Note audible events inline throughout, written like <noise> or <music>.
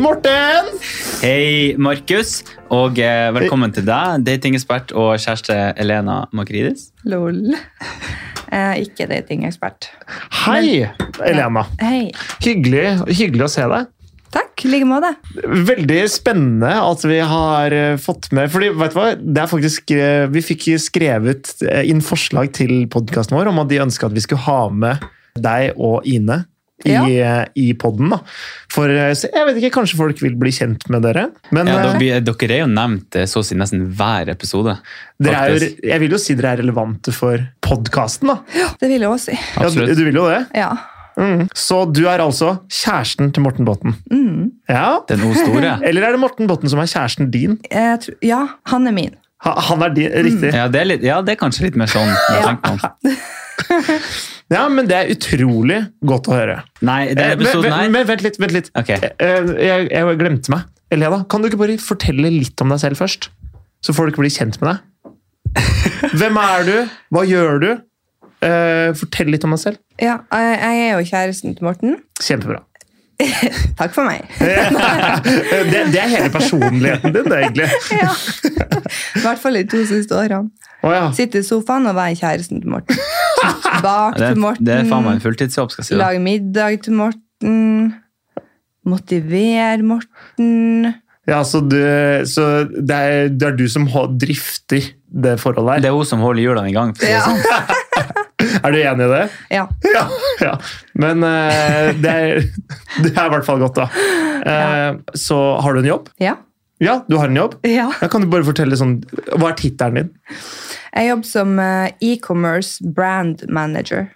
Morten! Hei, Markus, og eh, velkommen til deg, datingekspert og kjæreste Elena Makridis. Lol. Eh, ikke datingekspert. Hei, Elena. Hei. Hyggelig, hyggelig å se deg. Takk, i like måte. Veldig spennende at vi har eh, fått med fordi, vet du hva, det er faktisk eh, Vi fikk skrevet eh, inn forslag til podkasten vår om at de ønska at vi skulle ha med deg og Ine i, Ja. eh, i podden. Da. For eh, så jeg vet ikke, kanskje folk vil bli kjent med dere. Men Ja, eh, dere, dere er jo nevnt eh, så å si nesten hver episode. dere er jo, faktisk. jeg vil jo si dere er relevante for podkasten, da. Det vil jeg også si. Ja, du, Absolutt. du vil jo det. Ja. Mm. Så du er altså kjæresten til Morten Botten. Mm. Ja. Den O store. <laughs> Eller er det Morten Botten som er kjæresten din? Jeg tror, ja, han er min. Ha- Han er din, riktig. Ja, det er, litt, ja, det er kanskje litt mer sånn. når jeg Ja. tenker meg om. Ja, men det er utrolig godt å høre. Nei, Eh, denne men, episoden men, her men vent litt, vent litt. Ok. Eh, Jeg, jeg glemte meg. Elena, kan du ikke bare fortelle litt om deg selv først? Så folk blir kjent <laughs> med deg. Hvem er du? Hva gjør du? Eh, fortell litt om deg selv. Ja, jeg jeg er jo kjæresten til Morten. <laughs> Kjempebra. Takk for meg. Eh, Det, det er hele personligheten din, det, egentlig. Ja. I hvert fall de to siste årene. Å ja. Sitte i sofaen og være kjæresten til Morten. Bak det, til er- det er faen meg Morten. en fulltidsjobb, skal jeg si. Da. Lage middag til Morten. Motivere Morten. ja så, du, så det er, det er du som hå- drifter det forholdet Det her. er hun som holder hjulene i gang. For å si det Ja. sånn. Er du enig i det? Ja. Ja, ja. Men eh, det, er, det er i hvert fall godt, da. Eh, Så har du en jobb? Ja. Ja, du har en jobb. ja. Da kan du bare fortelle sånn, Hva er tittelen din? Jeg jobber som eh, e-commerce brand manager.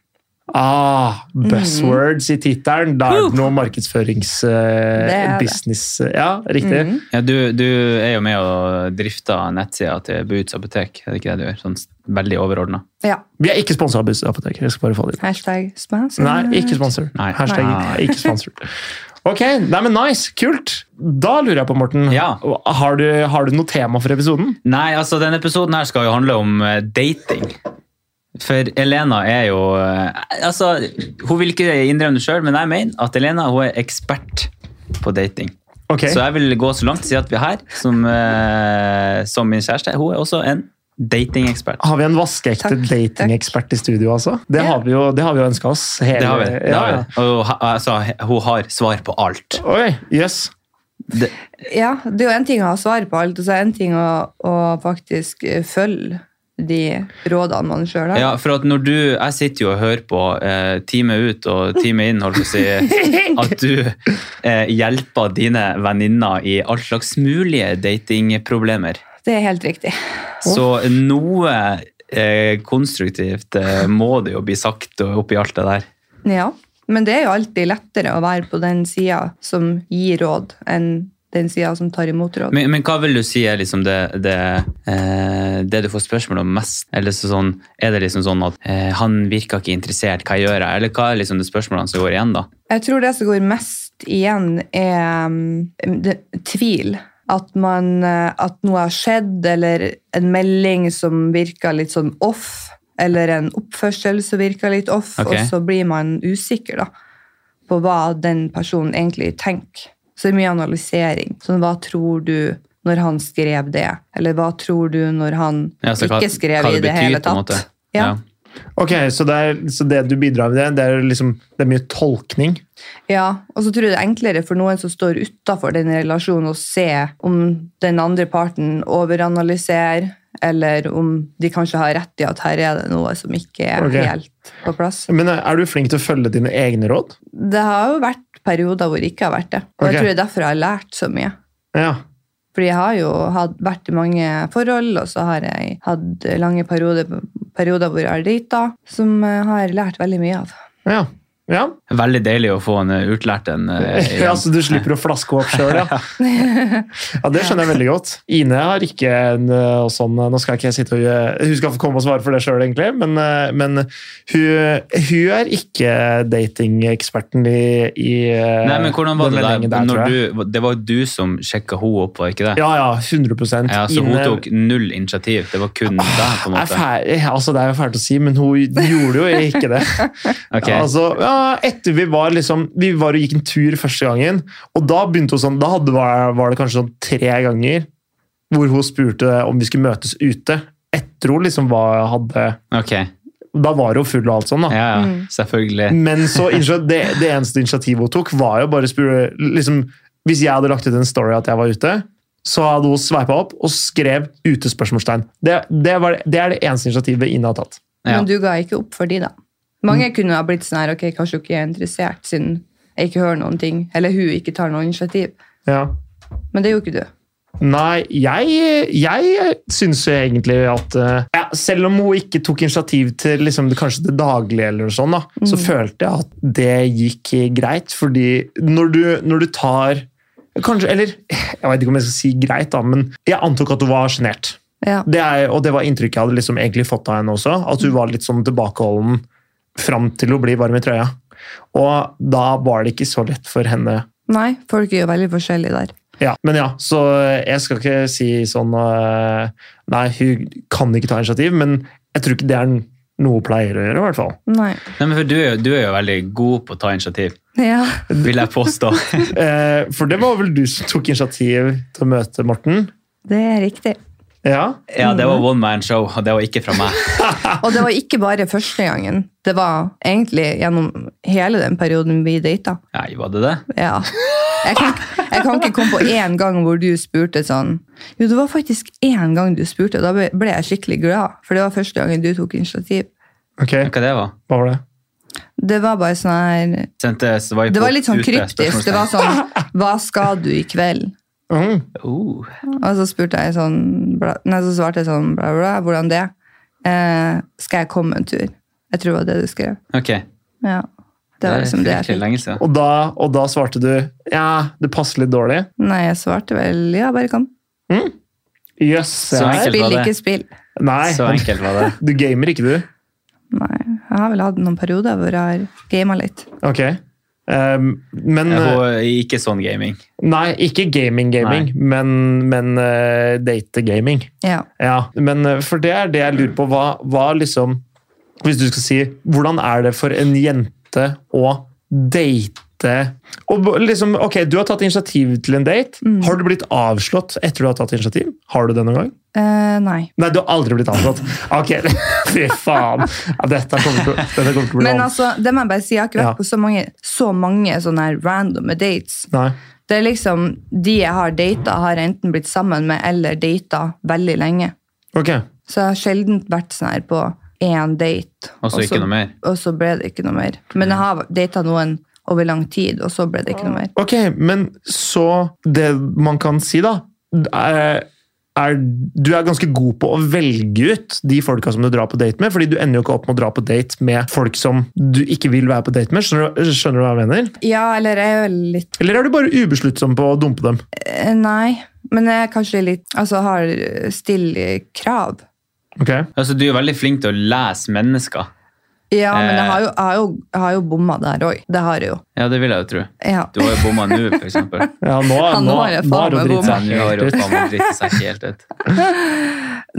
Ah, Buzzwords i tittelen. Da er det noe markedsføringsbusiness er det. Mm. business eh, Ja, riktig. Ja, du, du er jo med og drifter nettsida til Boots apotek. Er det ikke det du gjør? Sånn s- veldig overordna. Ja. Vi er ikke sponsa av Buss Apotek. Jeg skal bare få det inn. Hashtag sponsor. Nei, ikke sponsor. Nei. Hashtag Nei. ikke sponsor. Ok, nei, men nice, kult. Da lurer jeg på, Morten, Ja. har, du, har du noe tema for episoden? Nei, altså denne episoden her skal jo handle om eh, dating. For Elena er jo eh, Altså, hun vil ikke innrømme det sjøl, men jeg mener at Elena hun er ekspert på dating. Ok, Så jeg vil gå så langt og si at vi her, som, eh, som min kjæreste, hun er også en datingekspert. Har vi en vaskeekte Takk, datingekspert i studio, altså? Det Ja. har vi jo, det har vi jo ønska oss. hele- Det har vi. Det har Ja, ja. vi. Og hun ha- altså, hun har svar på alt. Oi, yes. Det, Ja, det er jo en ting å ha svar på alt, og så er det en ting å, å faktisk eh, følge de rådene man sjøl har. ja, for at når du Jeg sitter jo og hører på eh, time ut og time inn, holdt på <laughs> å si, at du eh, hjelper dine venninner i all slags mulige datingproblemer. Det er helt riktig. Så noe eh, konstruktivt eh, må det jo bli sagt og oppi alt det der. Ja. Men det er jo alltid lettere å være på den sida som gir råd, enn den sida som tar imot råd. Men, men hva vil du si er liksom det, det, eh, det du får spørsmål om mest? Eller så sånn, er det liksom sånn at eh, 'han virka ikke interessert, hva gjør jeg?' Eller hva er liksom det spørsmålene som går igjen, da? Jeg tror det som går mest igjen, er mm, det, tvil. At, man, eh, at noe har skjedd, eller en melding som virker litt sånn off. Eller en oppførsel som virker litt off, Ok. og så blir man usikker da, på hva den personen egentlig tenker. Så det er mye analysering. Sånn, hva tror du når han skrev det? Eller hva tror du når han Ja, så hva- ikke skrev hva i det det betyr, hele på en tatt? måte. Ja. Ja. Ok, Så det, er, så det du bidrar med, det er, liksom, det er mye tolkning? Ja, og så tror jeg det er enklere for noen som står utafor den relasjonen, å se om den andre parten overanalyserer, eller om de kanskje har rett i at her er det noe som ikke er Ok. helt på plass. Men eh, er du flink til å følge dine egne råd? Det har jo vært perioder hvor jeg ikke har vært det, og Ok. jeg tror det er derfor jeg har lært så mye. Ja. Fordi jeg har jo hatt, vært i mange forhold, og så har jeg hatt lange perioder, perioder hvor jeg har drita, som jeg har lært veldig mye av. Ja. ja. Veldig deilig å få en eh, utlært en. eh, igjen. <laughs> ja så du slipper å flaske opp sjøl, <laughs> ja. ja. Det skjønner jeg veldig godt. Ine har ikke en øh, sånn øh, Nå skal ikke jeg sitte og øh, Hun skal få komme og svare for det sjøl, egentlig, men, øh, men hun, hun er ikke datingeksperten i, i øh, Nei, men hvordan var den det meldingen der? tror Når jeg. du, det var jo du som sjekka henne opp, var ikke det? Ja, ja, 100 Ja, så hun tok null initiativ. Det var kun Ah, deg, på en er måte. fæl, altså, det er jo fælt å si, men hun gjorde jo ikke det. Ok. Altså, ja, Ja, etter vi var liksom Vi var og gikk en tur første gangen, og da begynte hun sånn Da hadde, var, var det kanskje sånn tre ganger hvor hun spurte om vi skulle møtes ute. Etter hun liksom var, hadde Ok, Da var hun full og alt sånn, da. ja, ja, Mm. selvfølgelig. Men så innså- det, det eneste initiativet hun tok, var jo bare å spørre liksom, Hvis jeg hadde lagt ut en story at jeg var ute, så hadde hun sveipa opp og skrev 'ute?' spørsmålstegn. Det, det, var, det er det eneste initiativet Ine har tatt. Ja. Men du ga ikke opp for de, da. Mange kunne ha blitt sånn her, ok, kanskje hun ikke er interessert, siden jeg ikke hører noen ting, eller hun ikke tar noe initiativ. Ja. Men det gjorde ikke du. Nei, jeg, jeg syns jo egentlig at eh, ja, Selv om hun ikke tok initiativ til liksom, det, kanskje det daglige, eller noe sånt, da, så følte jeg at det gikk greit. Fordi når du, når du tar Kanskje, eller Jeg vet ikke om jeg skal si greit, da, men jeg antok at hun var sjenert. Ja. Det er, og det var inntrykket jeg hadde liksom egentlig fått av henne også. At hun var litt sånn tilbakeholden fram til hun blir varm i trøya. Og da var det ikke så lett for henne Nei, folk er jo veldig forskjellige der. ja, men ja, så jeg skal ikke si sånn øh, Nei, hun kan ikke ta initiativ, men jeg tror ikke det er n- noe hun pleier å gjøre, i hvert fall. Nei. Nei, men for du, er jo- du er jo veldig god på å ta initiativ, Ja. vil jeg påstå. <laughs> Eh, for det var vel du som tok initiativ til å møte Morten? Det er riktig. Ja. Ja, det var one man show, og det var ikke fra meg. Og det var ikke bare første gangen. Det var egentlig gjennom hele den perioden vi data. Nei, var det det? Ja. Jeg kan, jeg kan ikke komme på én gang hvor du spurte sånn Jo, det var faktisk én gang du spurte, og da ble- ble jeg skikkelig glad. For det var første gangen du tok initiativ. Ok, Hva det var? hva var det? Det var bare sånn her Sendte swipe Det var opp litt sånn ute, kryptisk. Det var sånn Hva skal du i kveld? Mm. spørsmålstegn. Oh. Og så spurte jeg sånn bla, Nei, så svarte jeg sånn bla, bla, hvordan det? Eh, skal jeg komme en tur? Jeg tror det var det du skrev. Ok, Ja. Det var liksom det jeg fryktelig fikk. lenge siden. Og, da, og da svarte du ja, det passer litt dårlig. Nei, jeg svarte vel ja, bare kom. Jøss. Så jeg- enkelt. var Spill, det. ikke spill. Nei, Så enkelt var <laughs> det. du gamer ikke, du? Nei, jeg har vel hatt noen perioder hvor jeg har gama litt. Ok. Ehm, men eh, Hun, ikke sånn gaming. Nei, ikke gaming-gaming, men, men eh, date-gaming. Ja. Ja, men eh, for det er det jeg lurer på. Hva, hva liksom Hvis du skal si Hvordan er det for en jente å date og b- liksom, ok, Du har tatt initiativ til en date. Har du blitt avslått etter du har tatt initiativ? Har du det noen gang? Eh, nei. Nei, du har aldri blitt avslått. Ok, <laughs> Fy faen! Ja, dette kommer til, dette kommer til å bli Men vanskelig. altså, det må jeg bare si, jeg har ikke vært Ja. på så mange, så mange sånne her randome dates. Nei. Det er liksom, De jeg har data, har jeg enten blitt sammen med eller data veldig lenge. Ok. Så jeg har sjelden vært sånn her på én date. Og så ikke noe mer. Og så ble det ikke noe mer. Men jeg har data noen over lang tid, og så ble det ikke noe mer. Ok, men så Det man kan si, da er, er, Du er ganske god på å velge ut de folka som du drar på date med, fordi du ender jo ikke opp med å dra på date med folk som du ikke vil være på date med. Skjønner du, skjønner du hva jeg mener? Ja, eller jeg er jo litt Eller er du bare ubesluttsom på å dumpe dem? eh, Nei. Men jeg er kanskje litt Altså har eh, stille krav. Ok, Altså, du er veldig flink til å lese mennesker. Ja, men jeg Eh. har jo, jeg har jo, jeg har jo bomma der òg. Det har jeg jo. Ja, det vil jeg jo tro. Ja. Du har jo bomma nå, for <laughs> eksempel. ja, Nå, <laughs> Ja, nå nå, er jeg nå faen meg er det dritt Så seg nå har helt hun ut. faen meg dritt seg helt ut.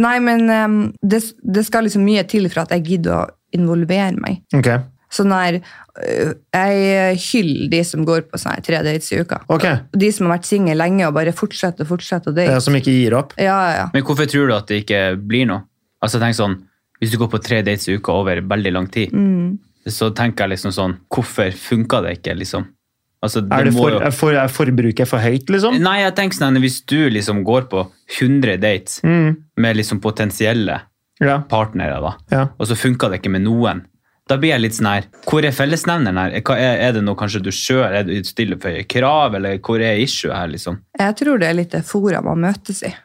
Nei, men em, det, det skal liksom mye til for at jeg gidder å involvere meg. Ok, Sånn her, øh, Jeg hyller de som går på sånn her tre dates i uka. ok. De som har vært single lenge og bare fortsetter og fortsetter å Eh, date. Som ikke gir opp. Ja, ja, ja. Men hvorfor tror du at det ikke blir noe? Altså, tenk sånn, hvis du går på tre dates i uka over veldig lang tid, Mm. så tenker jeg liksom sånn, hvorfor funker det ikke, liksom? Altså, det Er, det må for, jo- er, for, er forbruket for høyt, liksom? Nei, jeg tenker sånn, hvis du liksom går på 100 dates Mm, med liksom potensielle ja, partnere, da, ja. og så funker det ikke med noen, da blir jeg litt sånn her, hvor er fellesnevneren her? Hva Er, er det noe kanskje du selv, er du stille for høye krav, eller hvor er issue her, liksom? Jeg tror det er litt det fora man møtes i.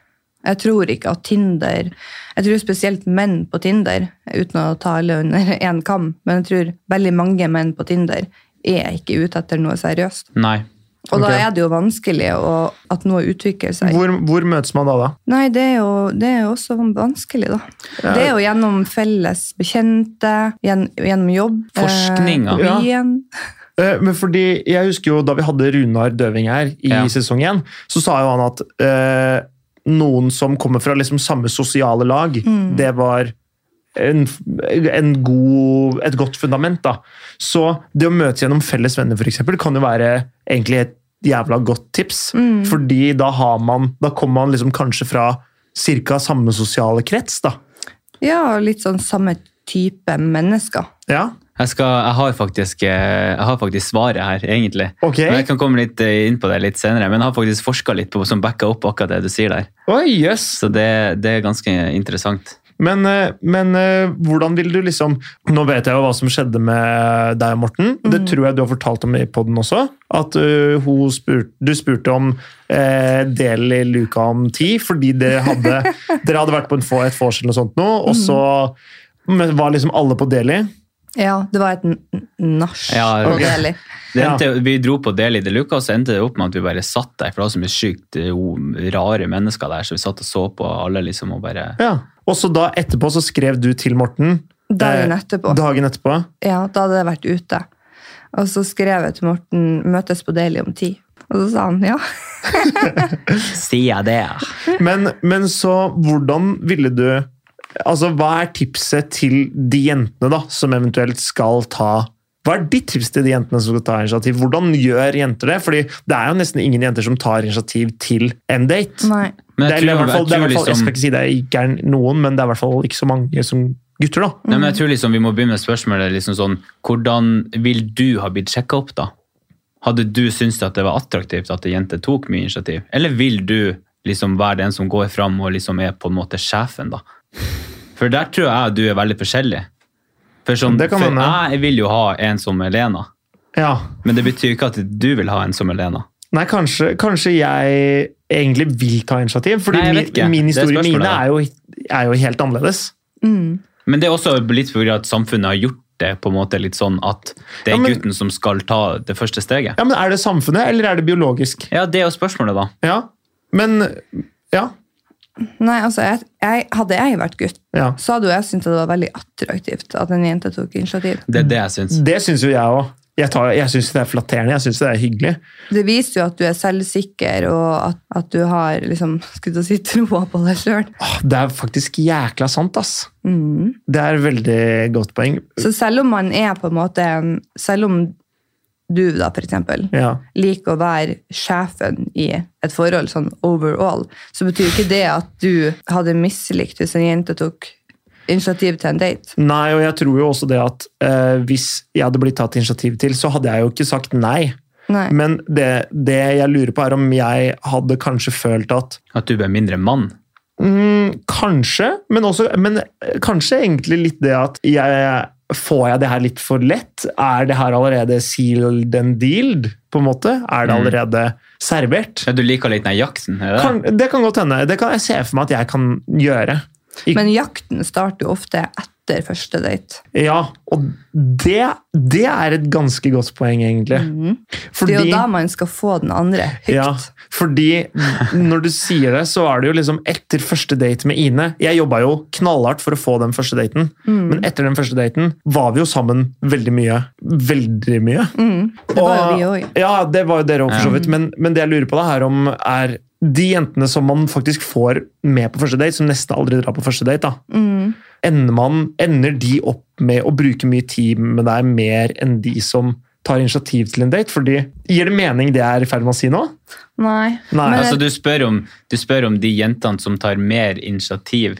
Jeg tror ikke at Tinder Jeg tror spesielt menn på Tinder, uten å ta alle under én kam, men jeg tror veldig mange menn på Tinder er ikke ute etter noe seriøst. Nei. Og da Ok. er det jo vanskelig å, at noe utvikler seg. Hvor, hvor møtes man da, da? Nei, det er, jo, det er jo også vanskelig, da. Ja. Det er jo gjennom felles bekjente, gjen, gjennom jobb. eh, Forskning, ja. på byen. Eh, Men fordi, jeg husker jo Da vi hadde Runar Døving her i Ja. sesong 1, så sa jo han at eh, noen som kommer fra liksom samme sosiale lag, det var en, en god, et godt fundament. Da. Så det å møtes gjennom felles venner for eksempel, kan jo være egentlig et jævla godt tips. Fordi da, har man, da kommer man liksom kanskje fra cirka samme sosiale krets. Da. Ja, og litt sånn samme type mennesker. Ja, Jeg, skal, jeg, har faktisk, eh, jeg har faktisk svaret her, egentlig. ok. Men jeg kan komme litt eh, inn på det litt senere, men jeg har faktisk forska litt på som backer opp akkurat det du sier der. Oi, jøss. Så det, det er ganske interessant. Men, eh, men eh, hvordan vil du liksom Nå vet jeg jo hva som skjedde med deg, Morten. Mm. Det tror jeg du har fortalt om i podden også. At eh, hun spurte, du spurte om eh, del i luka om ti, fordi det hadde, <laughs> dere hadde vært på en få, et vors eller noe sånt nå, og så Mm. men var liksom alle på del i. Ja, det var et n- n- nach. Ja, på ok. Delhi. Det Ja. endte, Vi dro på Deli de Luca, og så endte det opp med at vi bare satt der. For det var så mye sykt eh, o- rare mennesker der, så vi satt og så på alle, liksom, og <laughs> bare Ja. Og så da etterpå så skrev du til Morten Dagen eh, etterpå. dagen etterpå. Ja, da hadde jeg vært ute. Og så skrev jeg til Morten 'møtes på Deilig om ti'. Og så sa han ja. Sier jeg det? Men, men så hvordan ville du Altså, hva er tipset til de jentene da, som eventuelt skal ta Hva er ditt tips til de jentene som skal ta initiativ? Hvordan gjør jenter det? Fordi det er jo nesten ingen jenter som tar initiativ til en date. Nei. Men Det jeg er, i hvert tror, jeg fall, tror det er i hvert fall, jeg liksom skal ikke si det ikke er noen, men det er i hvert fall ikke så mange som gutter, da. Nei, men jeg tror liksom vi må begynne med spørsmålet liksom sånn, hvordan vil du ha blitt sjekka opp, da? Hadde du syntes at det var attraktivt at ei jente tok mye initiativ? Eller vil du liksom være den som går fram og liksom er på en måte sjefen, da? For der tror jeg du er veldig forskjellig. For, sånn, Det kan for hende. jeg vil jo ha en som Elena, Ja. men det betyr ikke at du vil ha en som Elena. Nei, kanskje, kanskje jeg egentlig vil ta initiativ, fordi Nei, jeg vet min, ikke. min Det er historie spørsmålet, mine da. er jo, er jo helt annerledes. Mm. Men det er også litt fordi at samfunnet har gjort det på en måte litt sånn at det er Ja, men- gutten som skal ta det første steget. Ja, men Er det samfunnet, eller er det biologisk? Ja, det er jo spørsmålet, da. Ja, men Ja. <laughs> Nei, altså, jeg, jeg, hadde jeg vært gutt, Ja. så hadde jo jeg syntes at det var veldig attraktivt at en jente tok initiativ. Det er det jeg syns. Det syns jo jeg òg. Jeg, tar- jeg syns det er flatterende, jeg syns det er hyggelig. Det viser jo at du er selvsikker, og at, at du har liksom, skulle til å si, troa på deg sjøl. Åh, Ah, Det er faktisk jækla sant, ass. Mm. Det er veldig godt poeng. Så selv om man er på en måte en Selv om du, da, for eksempel, Ja. liker å være sjefen i et forhold, sånn overall, så betyr jo ikke det at du hadde mislikt hvis en jente tok initiativ til en date. Nei, og jeg tror jo også det at eh, hvis jeg hadde blitt tatt initiativ til, så hadde jeg jo ikke sagt nei. Nei. Men det, det jeg lurer på, er om jeg hadde kanskje følt at At du ble mindre mann. mm, Kanskje, men, også, men eh, kanskje egentlig litt det at jeg Får jeg det her litt for lett? Er det her allerede sealed and dealed? på en måte? Er det allerede servert? Ja, du liker litt den jakten? Er det? Kan, det kan godt hende. Det kan jeg se for meg at jeg kan gjøre. Ik- Men jakten starter jo ofte etter første date. Ja, og det, det er et ganske godt poeng, egentlig. Mm. Det Fordi, er jo da man skal få den andre høyt. ja, fordi når du sier det, så er det jo liksom etter første date med Ine Jeg jobba jo knallhardt for å få den første daten, Mm. men etter den første daten var vi jo sammen veldig mye. Veldig mye. Mm. Det var jo vi Mm. Og- òg. Ja, det var jo dere òg, for så Ja. vidt. Men, men det jeg lurer på, da, er om er de jentene som man faktisk får med på første date, som nesten aldri drar på første date, da, Mm. ender, man, ender de opp med å bruke mye tid med deg mer enn de som tar initiativ til en date? Fordi, Gir det mening det jeg er i ferd med å si nå? Nei. Nei. Men- Altså, du, spør om, du spør om de jentene som tar mer initiativ,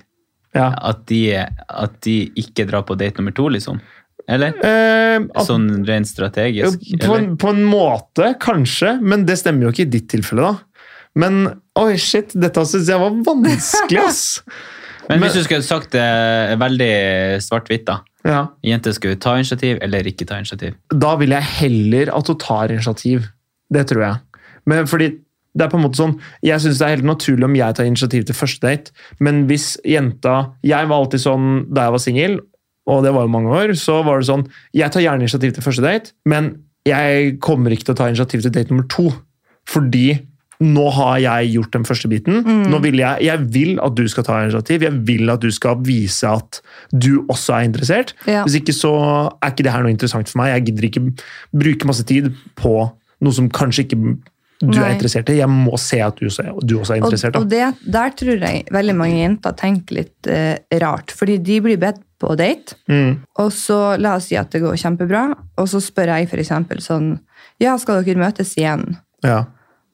Ja. at de, at de ikke drar på date nummer to, liksom? Eller? Eh, at, Sånn rent jo, strategisk? på, Eller? en, på en måte, kanskje, men det stemmer jo ikke i ditt tilfelle, da. Men oi, shit, dette syns jeg var vanskelig, ass! <laughs> Men hvis du skulle sagt det veldig svart-hvitt, da. Ja. Jenter skulle ta initiativ eller ikke ta initiativ. da vil jeg heller at hun tar initiativ. Det tror jeg. Men fordi det er på en måte sånn, Jeg syns det er helt naturlig om jeg tar initiativ til første date, men hvis jenta Jeg var alltid sånn da jeg var singel, og det var jo mange år, så var det sånn Jeg tar gjerne initiativ til første date, men jeg kommer ikke til å ta initiativ til date nummer to. Fordi nå har jeg gjort den første biten. Nå vil jeg, jeg vil at du skal ta initiativ. Jeg vil at du skal vise at du også er interessert. Ja. Hvis ikke så er ikke det her noe interessant for meg. Jeg gidder ikke bruke masse tid på noe som kanskje ikke du er Nei. interessert i. Jeg må se at du også er, du også er interessert. Og, og Da. det, der tror jeg veldig mange jenter tenker litt eh, rart. Fordi de blir bedt på date, Mm. og så la oss si at det går kjempebra, og så spør jeg for eksempel sånn Ja, skal dere møtes igjen? Ja.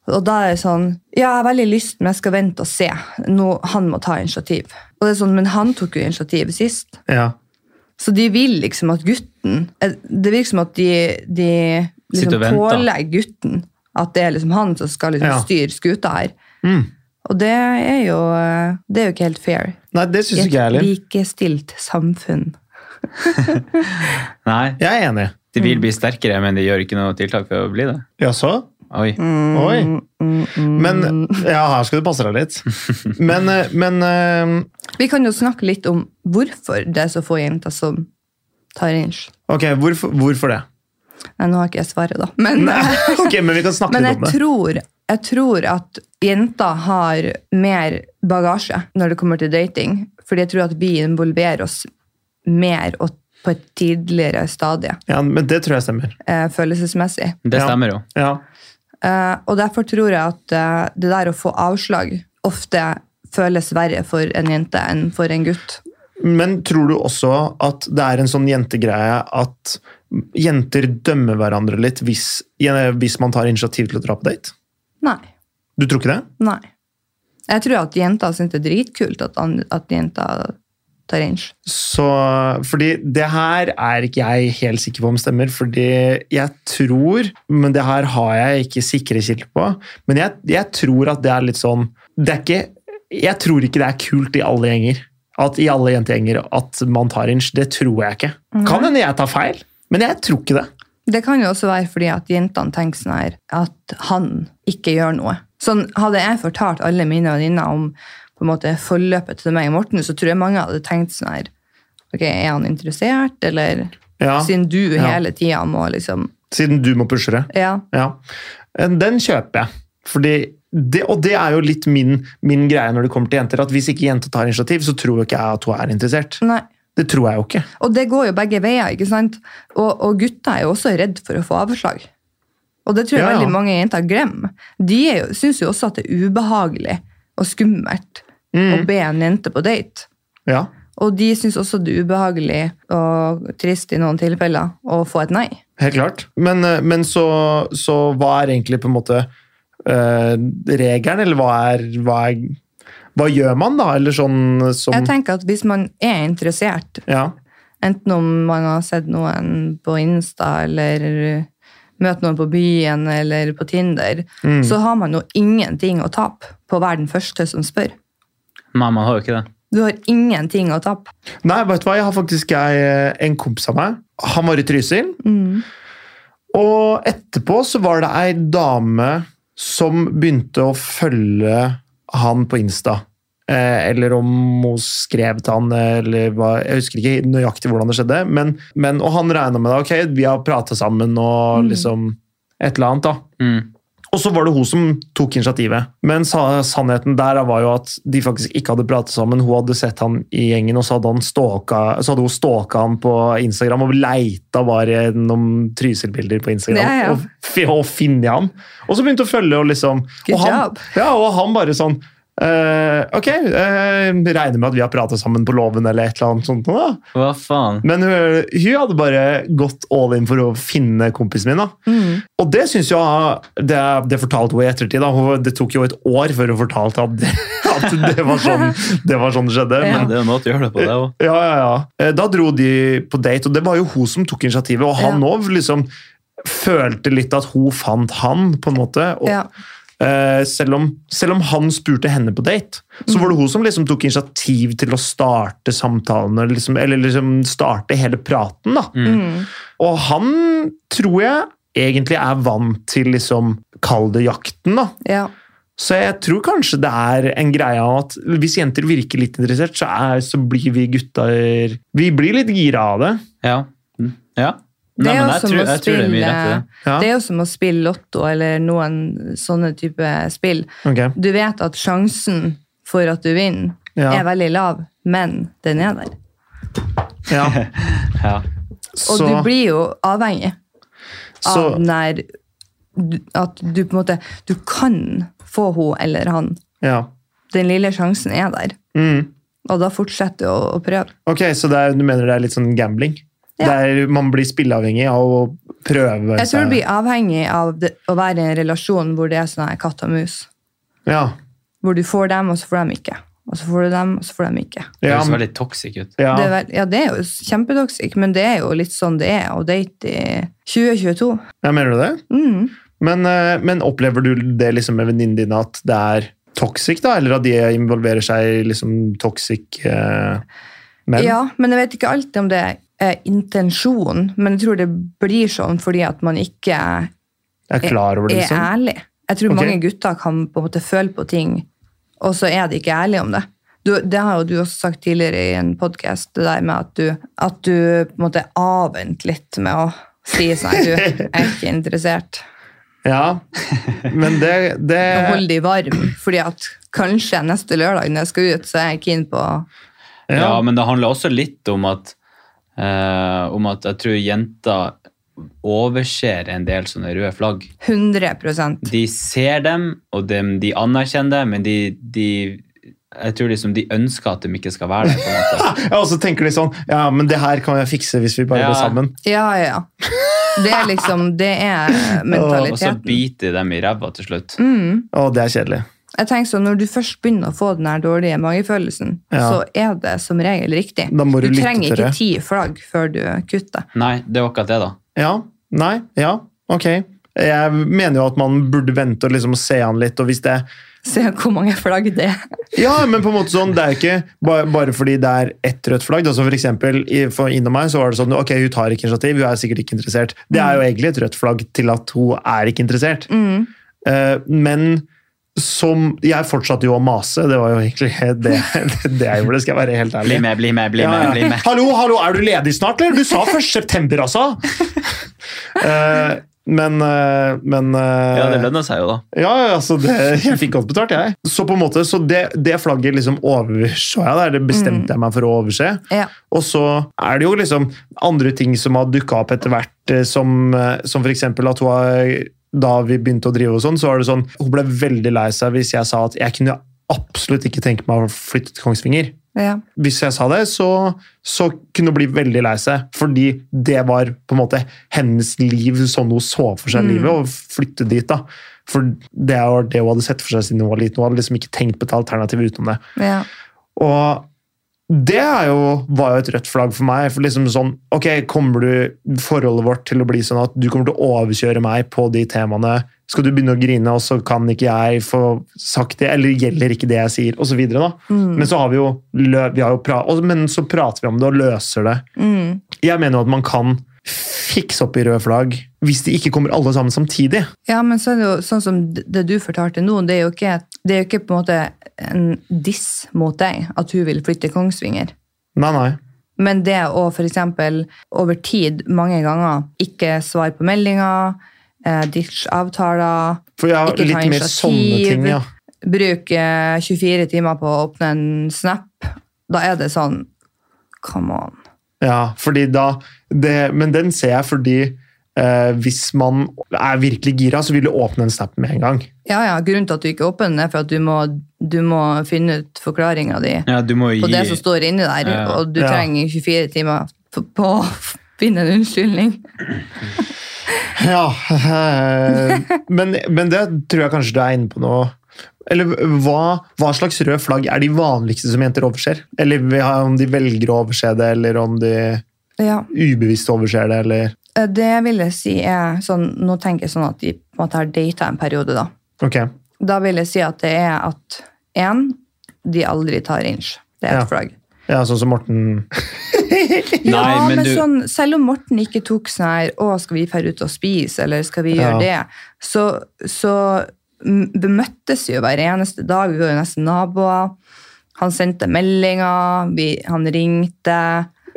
Og da er det sånn Ja, jeg har veldig lyst, men jeg skal vente og se. Nå, han må ta initiativ. Og det er sånn, Men han tok jo initiativ sist. Ja. Så de vil liksom at gutten Det virker som at de, de liksom Sitter og venter. pålegger gutten at det er liksom han som skal liksom Ja. styre skuta her. Mm. Og det er jo eh, det er jo ikke helt fair. Nei, det I syns et ikke jeg heller. likestilt samfunn. Nei, Jeg er enig. de vil bli sterkere, men de gjør ikke noe tiltak for å bli det. Jaså? Oi. Oi. Mm, mm. Men Ja, her skal du passe deg litt. <laughs> Men, eh, men eh, Vi kan jo snakke litt om hvorfor det er så få jenter som tar inch. Ok, hvorfor, hvorfor det? Nei, nå har ikke jeg svaret, da. Men, Ok, men vi kan snakke men litt jeg, om det. tror, jeg tror at jenter har mer bagasje når det kommer til dating. Fordi jeg tror at vi involverer oss mer og på et tidligere stadie Ja, men det tror jeg stemmer. eh, følelsesmessig. Det Ja. stemmer jo. Ja. Eh, og derfor tror jeg at eh, det der å få avslag ofte føles verre for en jente enn for en gutt. Men tror du også at det er en sånn jentegreie at jenter dømmer hverandre litt hvis, hvis man tar initiativ til å dra på date? Nei. Du tror ikke det? Nei. Jeg tror at jenter syns det er dritkult at, an- at jenter tar inch. Så, fordi det her er ikke jeg helt sikker på om stemmer, fordi jeg tror, men det her har jeg ikke sikre kilder på, men jeg, jeg tror at det er litt sånn, det er ikke, jeg tror ikke det er kult i alle gjenger, at i alle jentegjenger at man tar inch, det tror jeg ikke. Kan hende jeg tar feil, men jeg tror ikke det. Det kan jo også være fordi at jentene tenker sånn her at han ikke gjør noe. Sånn, hadde jeg fortalt alle mine venninner om på en måte forløpet til meg og Morten, så tror jeg mange hadde tenkt sånn her Ok, er han interessert, eller Ja, Siden du Ja. hele tida må liksom siden du må pushe det. Ja. Ja. Eh, Den kjøper jeg. Fordi det, og det er jo litt min, min greie når det kommer til jenter, at hvis ikke jenta tar initiativ, så tror jo ikke jeg at hun er interessert. Nei. Det tror jeg jo ikke. Og det går jo begge veier, ikke sant? Og, og gutter er jo også redd for å få avslag. Og det tror jeg Ja, ja. veldig mange jenter glemmer. De er jo- syns jo også at det er ubehagelig og skummelt Mm. å be en jente på date. Ja. Og de syns også det er ubehagelig og trist i noen tilfeller å få et nei. Helt klart. Men, eh, men så, så hva er egentlig på en måte eh, regelen, eller hva er, hva er Hva gjør man, da? Eller sånn som Mm. Jeg tenker at hvis man er interessert, Ja. enten om man har sett noen på Insta eller møtt noen på byen eller på Tinder, Mm. så har man jo ingenting å tape på å være den første som spør. Nei, man har jo ikke det. Du har ingenting å tape. Nei, vet du hva? Jeg har faktisk jeg, en kompis av meg. Han var i Trysil. Mm. Og etterpå så var det ei dame som begynte å følge han på Insta. Eh, eller om hun skrev til han, eller hva Jeg husker ikke nøyaktig hvordan det skjedde. Men, men, og han regna med det. Ok, vi har prata sammen og liksom et eller annet, da. Mm. Og så var det hun som tok initiativet. Men sa, sannheten der var jo at de faktisk ikke hadde pratet sammen. Hun hadde sett han i gjengen, og så hadde, han stalka, så hadde hun stalka han på Instagram og leita bare gjennom Trysil-bilder på Instagram. Ja, ja. Og, fi- og finne han. Og så begynte hun å følge, og liksom Good og han, job. ja, og han bare sånn eh, ok, eh, regner med at vi har pratet sammen på låven eller et eller annet sånt. nå, Da. Hva faen? Men hun, hun hadde bare gått all in for å finne kompisen min. da. Mm. Og det synes jo det, det fortalte hun i ettertid. da. Hun, det tok jo et år før hun fortalte at det, <laughs> at det var sånn det var sånn det skjedde. Ja. Men, Det er en måte å gjøre det på, det òg. ja, ja, ja. Eh, Da dro de på date, og det var jo hun som tok initiativet. Og han Ja. òg liksom følte litt at hun fant han, på en måte. Og, Ja. eh, selv, om, selv om han spurte henne på date, så var det hun som liksom tok initiativ til å starte samtalen, eller liksom, eller liksom starte hele praten. da. Mm. Mm. Og han tror jeg egentlig er vant til liksom Kall det jakten, da. Ja. Så jeg tror kanskje det er en greie av at hvis jenter virker litt interessert, så, er, så blir vi gutter Vi blir litt gira av det. Ja. Mm. ja. Det Nei, er men jo jeg som tror, å jeg tror det er mye rett i spille- det. Ja. det er jo som å spille lotto eller noen sånne type spill. Ok, Du vet at sjansen for at du vinner, Ja. er veldig lav, men den er der. <laughs> ja. Ja. Og Så, du blir jo avhengig så av den der du- at du på en måte Du kan få hun eller han. Ja. Den lille sjansen er der. Mm. Og da fortsetter du å, å prøve. Ok, så det er, du mener det er litt sånn gambling? Ja. Det er- man blir spilleavhengig av å prøve Jeg tror seg- det blir avhengig av det, å være i en relasjon hvor det er sånn her katt og mus. Ja. Hvor du får dem, og så får de ikke. Og så får du dem, og så får de ikke. Det Ja, høres men- veldig toxic ut. ja. Det er, vel- ja, det er jo kjempedoxic, men det er jo litt sånn det er å date i 2022. ja, mener du det? Mm. Men, eh, men opplever du det liksom med venninnene dine at det er toxic, da? Eller at de involverer seg i liksom toxic eh, menn? Ja, men jeg vet ikke alltid om det er intensjon, men jeg tror det blir sånn fordi at man ikke er Jeg er klar over det, liksom? ærlig. Jeg tror Ok. mange gutter kan på en måte føle på ting, og så er de ikke ærlige om det. Du, det har jo du også sagt tidligere i en podkast, det der med at du, at du på en måte avventer litt med å si sånn at du <laughs> er ikke interessert. Ja. Men det, Og det holde de varm, fordi at kanskje neste lørdag når jeg skal ut, så er jeg keen på Ja. Ja. men det handler også litt om at, eh, om at jeg tror jenter overser en del sånne røde flagg. 100 De ser dem, og dem, de anerkjenner det, men de, de jeg tror liksom de ønsker at de ikke skal være der. på <laughs> en måte. Ja, Og så tenker de sånn Ja, men det her kan jeg fikse hvis vi bare Ja. går sammen. Ja, ja. Det er liksom Det <laughs> er Og så mentaliteten. biter de dem i ræva til slutt. Mm. Å, det er kjedelig. Jeg tenker sånn, Når du først begynner å få den her dårlige magefølelsen, Ja. så er det som regel riktig. Da må du lytte trenger til ikke det. ti flagg før du kutter. Nei, det var akkurat det, da. Ja. Nei. Ja. Ok. Jeg mener jo at man burde vente og liksom se an litt, og hvis det Se hvor mange flagg det er. Ja, men på en måte sånn, det er jo ikke bare, bare fordi det er ett rødt flagg. da, så for eksempel, i- for innom meg så var det sånn, ok, hun tar ikke initiativ, hun er sikkert ikke interessert. Det er jo egentlig et rødt flagg til at hun er ikke interessert. Mm. Eh, men som, jeg fortsatte jo å mase, det var jo egentlig <laughs> det, det jeg gjorde, skal jeg være helt ærlig. Bli med, bli med, bli Ja, med. ja. bli med. Hallo, hallo, er du ledig snart, eller? Du sa 1. <laughs> september, altså! Eh, men, eh, men eh, Ja, det lønner seg jo, da. ja, altså det, jeg fikk godt betalt, jeg. Så på en måte, så det, det flagget liksom overså jeg der, det bestemte jeg meg for å overse. Ja. Og så er det jo liksom andre ting som har dukka opp etter hvert, eh, som, eh, som f.eks. at hun har Da vi begynte å drive og sånn, så var det sånn Hun ble veldig lei seg hvis jeg sa at jeg kunne absolutt ikke tenke meg å flytte til Kongsvinger. Ja. Hvis jeg sa det, så, så kunne hun bli veldig lei seg, fordi det var på en måte hennes liv, sånn hun så for seg livet, og flytte dit. da. For det var det hun hadde sett for seg siden hun var liten. Hun hadde liksom ikke tenkt på et alternativ utenom det. ja. Og det er jo, var jo et rødt flagg for meg. for liksom sånn, ok, Kommer du forholdet vårt til å bli sånn at du kommer til å overkjøre meg på de temaene? Skal du begynne å grine, og så kan ikke jeg få sagt det? Eller gjelder ikke det jeg sier? Og så videre, da. Mm. Men så har vi jo, lø- vi har jo pra og, men så prater vi om det og løser det. Mm. Jeg mener jo at man kan fikse opp i røde flagg hvis de ikke kommer alle sammen samtidig. ja, men så er det jo sånn som det du fortalte nå, det er jo ikke, det er jo ikke på en måte en diss mot deg at hun vil flytte til Kongsvinger. Nei, nei. Men det å f.eks. over tid mange ganger ikke svare på meldinger, eh, ditch avtaler, For jeg har Ikke ta litt mer sånne initiativ. ting, ja. bruke 24 timer på å åpne en snap, da er det sånn Come on. Ja, fordi da det, Men den ser jeg fordi eh, hvis man er virkelig gira, så vil du åpne en snap med en gang. Ja, ja, Grunnen til at du ikke åpner den, er for at du må, du må finne ut forklaringa di Ja, du må jo på det som gi står inni der, Ja. og du Ja. trenger 24 timer på, på å finne en unnskyldning. Ja, eh, men, men det tror jeg kanskje du er inne på nå. Eller hva, hva slags røde flagg er de vanligste som jenter overser? Eller vi har- om de velger å overse det, eller om de Ja. ubevisst overser det, eller Eh, Det vil jeg si er sånn Nå tenker jeg sånn at de på en måte har data en periode, da. Ok. Da vil jeg si at det er at én, de aldri tar inch. Det er et <laughs> Ja. flagg. Ja, sånn som Morten ja, Nei, men, men du sånn, selv om Morten ikke tok sånn her Å, skal vi fære ut og spise, eller skal vi Ja. gjøre det? Så, så mm, vi møttes jo hver eneste dag. Vi var jo nesten naboer. Han sendte meldinger, vi, han ringte.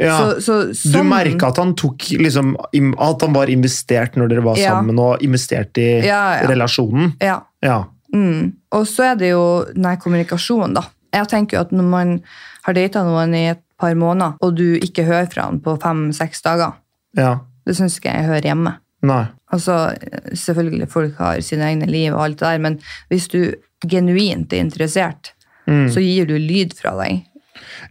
Ja. Så, så, Du sånn- merka at han tok liksom, im- at han var investert når dere var Ja. sammen, og investert i Ja, ja. relasjonen? Ja. Ja. Mm. Og så er det jo denne kommunikasjonen, da. Jeg tenker jo at når man har data noen i et par måneder, og du ikke hører fra han på fem-seks dager, Ja. det syns ikke jeg hører hjemme. Nei. Altså, selvfølgelig folk har sine egne liv og alt det der, men hvis du genuint er interessert, Mm. så gir du lyd fra deg.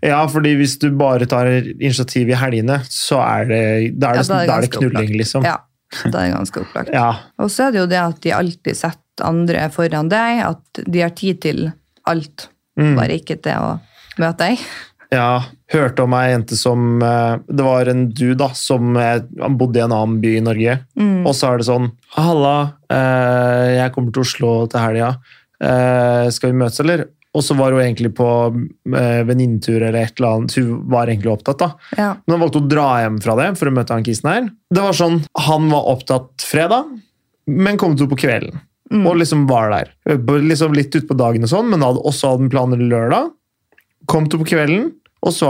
Ja, fordi hvis du bare tar initiativ i helgene, så er det, da er Ja, da er det, det da er det ganske knulling, opplagt. liksom. Ja, da er det ganske opplagt. Ja. Og så er det jo det at de alltid setter andre foran deg, at de har tid til alt, Mm. bare ikke til å møte deg. Ja, hørte om ei jente som eh, Det var en du da, som eh, han bodde i en annen by i Norge. Mm. Og så er det sånn Halla, eh, jeg kommer til Oslo til helga. Eh, Skal vi møtes, eller? Og så var hun egentlig på eh, venninnetur eller et eller annet. Hun var egentlig opptatt, da. Ja. Men han valgte å dra hjem fra det for å møte han kisen her. Det var sånn, Han var opptatt fredag, men kom til på kvelden. Mm. Og liksom var der. På- Liksom litt utpå dagen og sånn, men hadde også hadde en planer lørdag. Kom til på kvelden, og så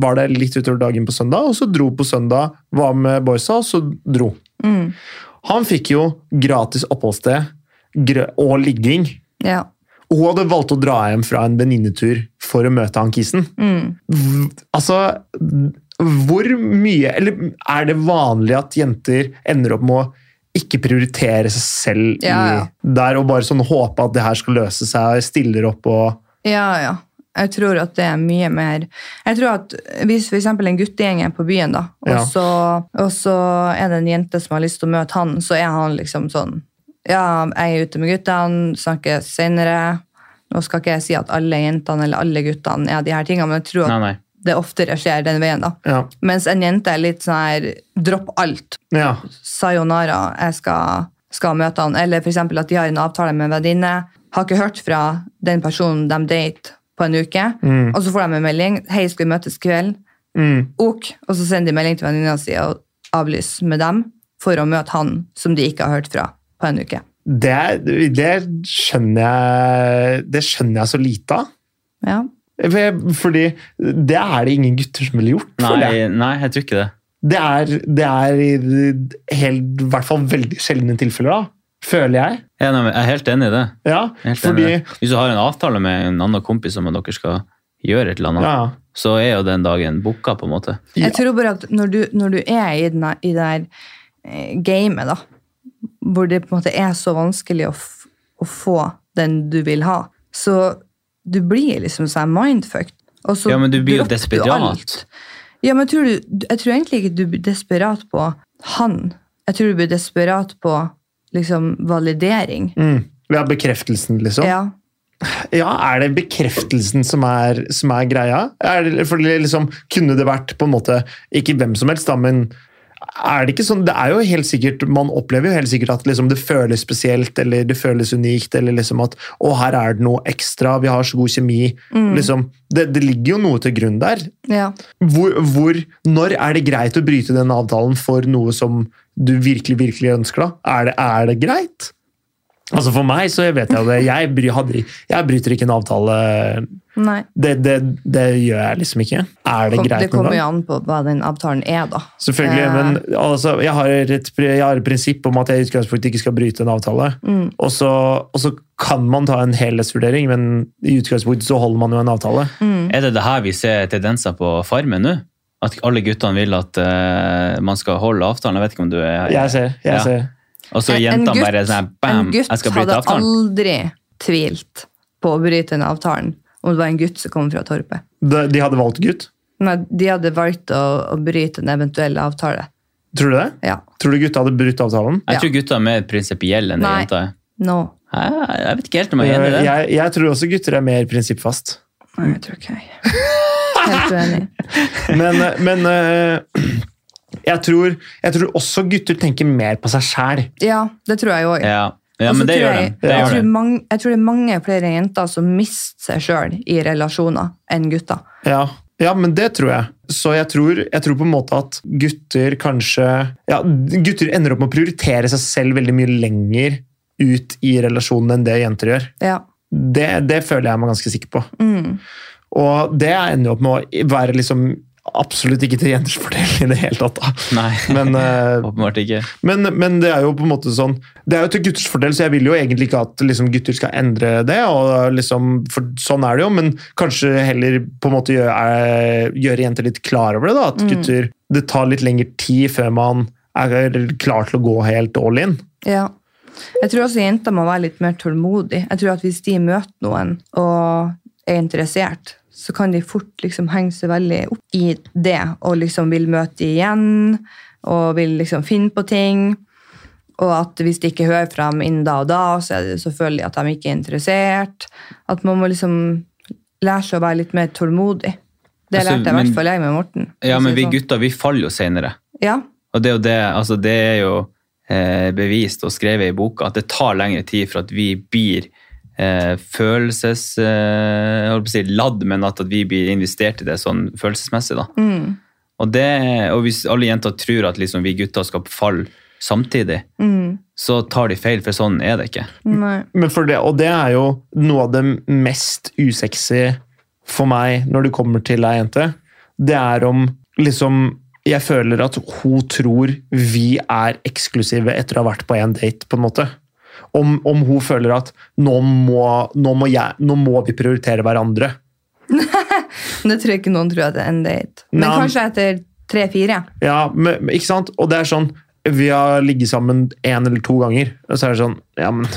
var det litt utover dagen på søndag. Og så dro på søndag, var med boysa, og så dro. Mm. Han fikk jo gratis oppholdssted gr- og ligging. Ja. Og hun hadde valgt å dra hjem fra en venninnetur for å møte han kisen. Mm. V- Altså, hvor mye Eller er det vanlig at jenter ender opp med å ikke prioritere seg selv Ja, ja. i der, og bare sånn håpe at det her skal løse seg, og stiller opp og Ja, ja. Jeg tror at det er mye mer Jeg tror at Hvis for eksempel en guttegjeng er på byen, da, og, Ja. så, og så er det en jente som har lyst til å møte han, så er han liksom sånn Ja, jeg er ute med guttene, snakkes senere. Nå skal ikke jeg si at alle jentene eller alle guttene er de her tingene, men jeg tror at Nei, nei. det oftere skjer den veien, da. Ja. Mens en jente er litt sånn her Dropp alt. ja. Sayonara, jeg skal, skal møte han. Eller f.eks. at de har en avtale med en venninne. Har ikke hørt fra den personen de date på en uke. Mm. Og så får de en melding. 'Hei, skal vi møtes kveld?' Mm. Ok. Og så sender de melding til venninna si og avlyser med dem for å møte han som de ikke har hørt fra på en uke. Det, er- det skjønner jeg Det skjønner jeg så lite av. Ja. For jeg- Fordi det er det ingen gutter som ville gjort. føler jeg. Nei, nei, jeg tror ikke det. Det er, det er i helt, i hvert fall veldig sjeldne tilfeller, da. Føler jeg. Jeg er nemlig- jeg er helt enig i det. Ja, Jeg er Helt fordi enig i det. Hvis du har en avtale med en annen kompis om at dere skal gjøre et eller annet, ja, så er jo den dagen booka, på en måte. Ja. Jeg tror bare at når du, når du er i, den, i det her eh, gamet, da, hvor det på en måte er så vanskelig å, f å få den du vil ha, så du blir liksom sånn mindfucked. Og så Ja, men du blir jo dropper desperat. alt. Ja, men jeg tror du, jeg tror egentlig ikke du blir desperat på han. Jeg tror du blir desperat på liksom validering. mm, vi har bekreftelsen, liksom. Ja. Ja. Er det bekreftelsen som er, som er greia? Er det, for det liksom, kunne det vært på en måte Ikke hvem som helst, da, men er det ikke sånn, det er jo helt sikkert, Man opplever jo helt sikkert at liksom, det føles spesielt, eller det føles unikt, eller liksom at Å, her er det noe ekstra, vi har så god kjemi. Liksom, det, det ligger jo noe til grunn der. ja. hvor, hvor, når er det greit å bryte den avtalen for noe som du virkelig, virkelig ønsker? da? Er det, er det greit? Altså For meg så vet jeg det. Jeg, bry, hadde, jeg bryter ikke en avtale. Nei. Det, det, det gjør jeg liksom ikke. Er det Kom, det greit noen kommer jo gang? an på hva den avtalen er, da. Selvfølgelig, Eh. men altså, jeg, har et, pri- jeg har et prinsipp om at jeg i utgangspunktet ikke skal bryte en avtale. Mm. Og, så, og så kan man ta en helhetsvurdering, men i utgangspunktet så holder man jo en avtale. Mm. Er det det her vi ser tendenser på Farmen nå? At alle guttene vil at eh, man skal holde avtalen? Jeg vet ikke om du er Jeg ser. jeg Ja. ser. Og så En- en jentene gutt- bare sånn her, En bam, gutt jeg skal bryte hadde avtalen. aldri tvilt på å bryte den avtalen om det var en gutt som kom fra torpet. De, de hadde valgt gutt. Nei, de hadde valgt å, å bryte en eventuell avtale. Tror du det? Ja. Tror du gutta hadde brutt avtalen? Jeg Ja. tror gutter er mer prinsipielle enn det Nei. jenter er. No. Jeg, jeg vet ikke helt om jeg er enig i det. Eh, Jeg, jeg tror også gutter er mer prinsippfast. Nei, jeg tror ikke <laughs> jeg. Helt uenig. Men, <laughs> men eh, jeg, tror, jeg tror også gutter tenker mer på seg sjæl. Ja, det tror jeg òg. Ja, ja men det gjør de. jeg, Det jeg, gjør tror de. mange, jeg tror det er mange flere jenter som mister seg sjøl i relasjoner enn gutter. Ja. ja, men det tror jeg. Så jeg tror, jeg tror på en måte at gutter kanskje ja, Gutter ender opp med å prioritere seg selv veldig mye lenger ut i relasjonen enn det jenter gjør. Ja. Det, det føler jeg meg ganske sikker på. Mm. Og det ender jo opp med å være liksom absolutt ikke til jenters fordel i det hele tatt. da. Nei, <laughs> Men eh, åpenbart ikke. Men, men det er jo på en måte sånn Det er jo til gutters fordel, så jeg vil jo egentlig ikke at liksom, gutter skal endre det. Og liksom, for sånn er det jo, men kanskje heller på en måte eh, gjøre, gjøre jenter litt klar over det. da, At gutter Det tar litt lengre tid før man er klar til å gå helt all in. Ja. Jeg tror også jenter må være litt mer tålmodige. Jeg tror at Hvis de møter noen og er interessert, så kan de fort liksom henge seg veldig opp i det og liksom vil møte de igjen og vil liksom finne på ting. Og at hvis de ikke hører fra dem innen da og da, så er det selvfølgelig at de ikke er interessert. At man må liksom lære seg å være litt mer tålmodig. Det Altså, lærte jeg i men- hvert fall jeg med Morten. Ja, for å men si vi det sånn. gutter, vi faller jo senere. Ja, Og det er jo det, altså det er jo eh, bevist og skrevet i boka at det tar lengre tid for at vi blir eh, følelses... Eh, jeg holdt på å si ladd, men at, at vi blir investert i det sånn følelsesmessig. da. Mm. Og, det, og hvis alle jenter tror at liksom, vi gutter skal falle samtidig, så tar de feil, for sånn er det ikke. Mm. nei. Men for det, og det er jo noe av det mest usexy for meg når det kommer til ei jente. Det er om liksom Jeg føler at hun tror vi er eksklusive etter å ha vært på én date, på en måte. Om, om hun føler at nå må, nå, må jeg, 'nå må vi prioritere hverandre'. Men det tror jeg ikke noen tror at det er en date. Men Nei. kanskje etter tre-fire. Ja, men, men ikke sant? Og det er sånn Vi har ligget sammen én eller to ganger, og så er det sånn Ja, men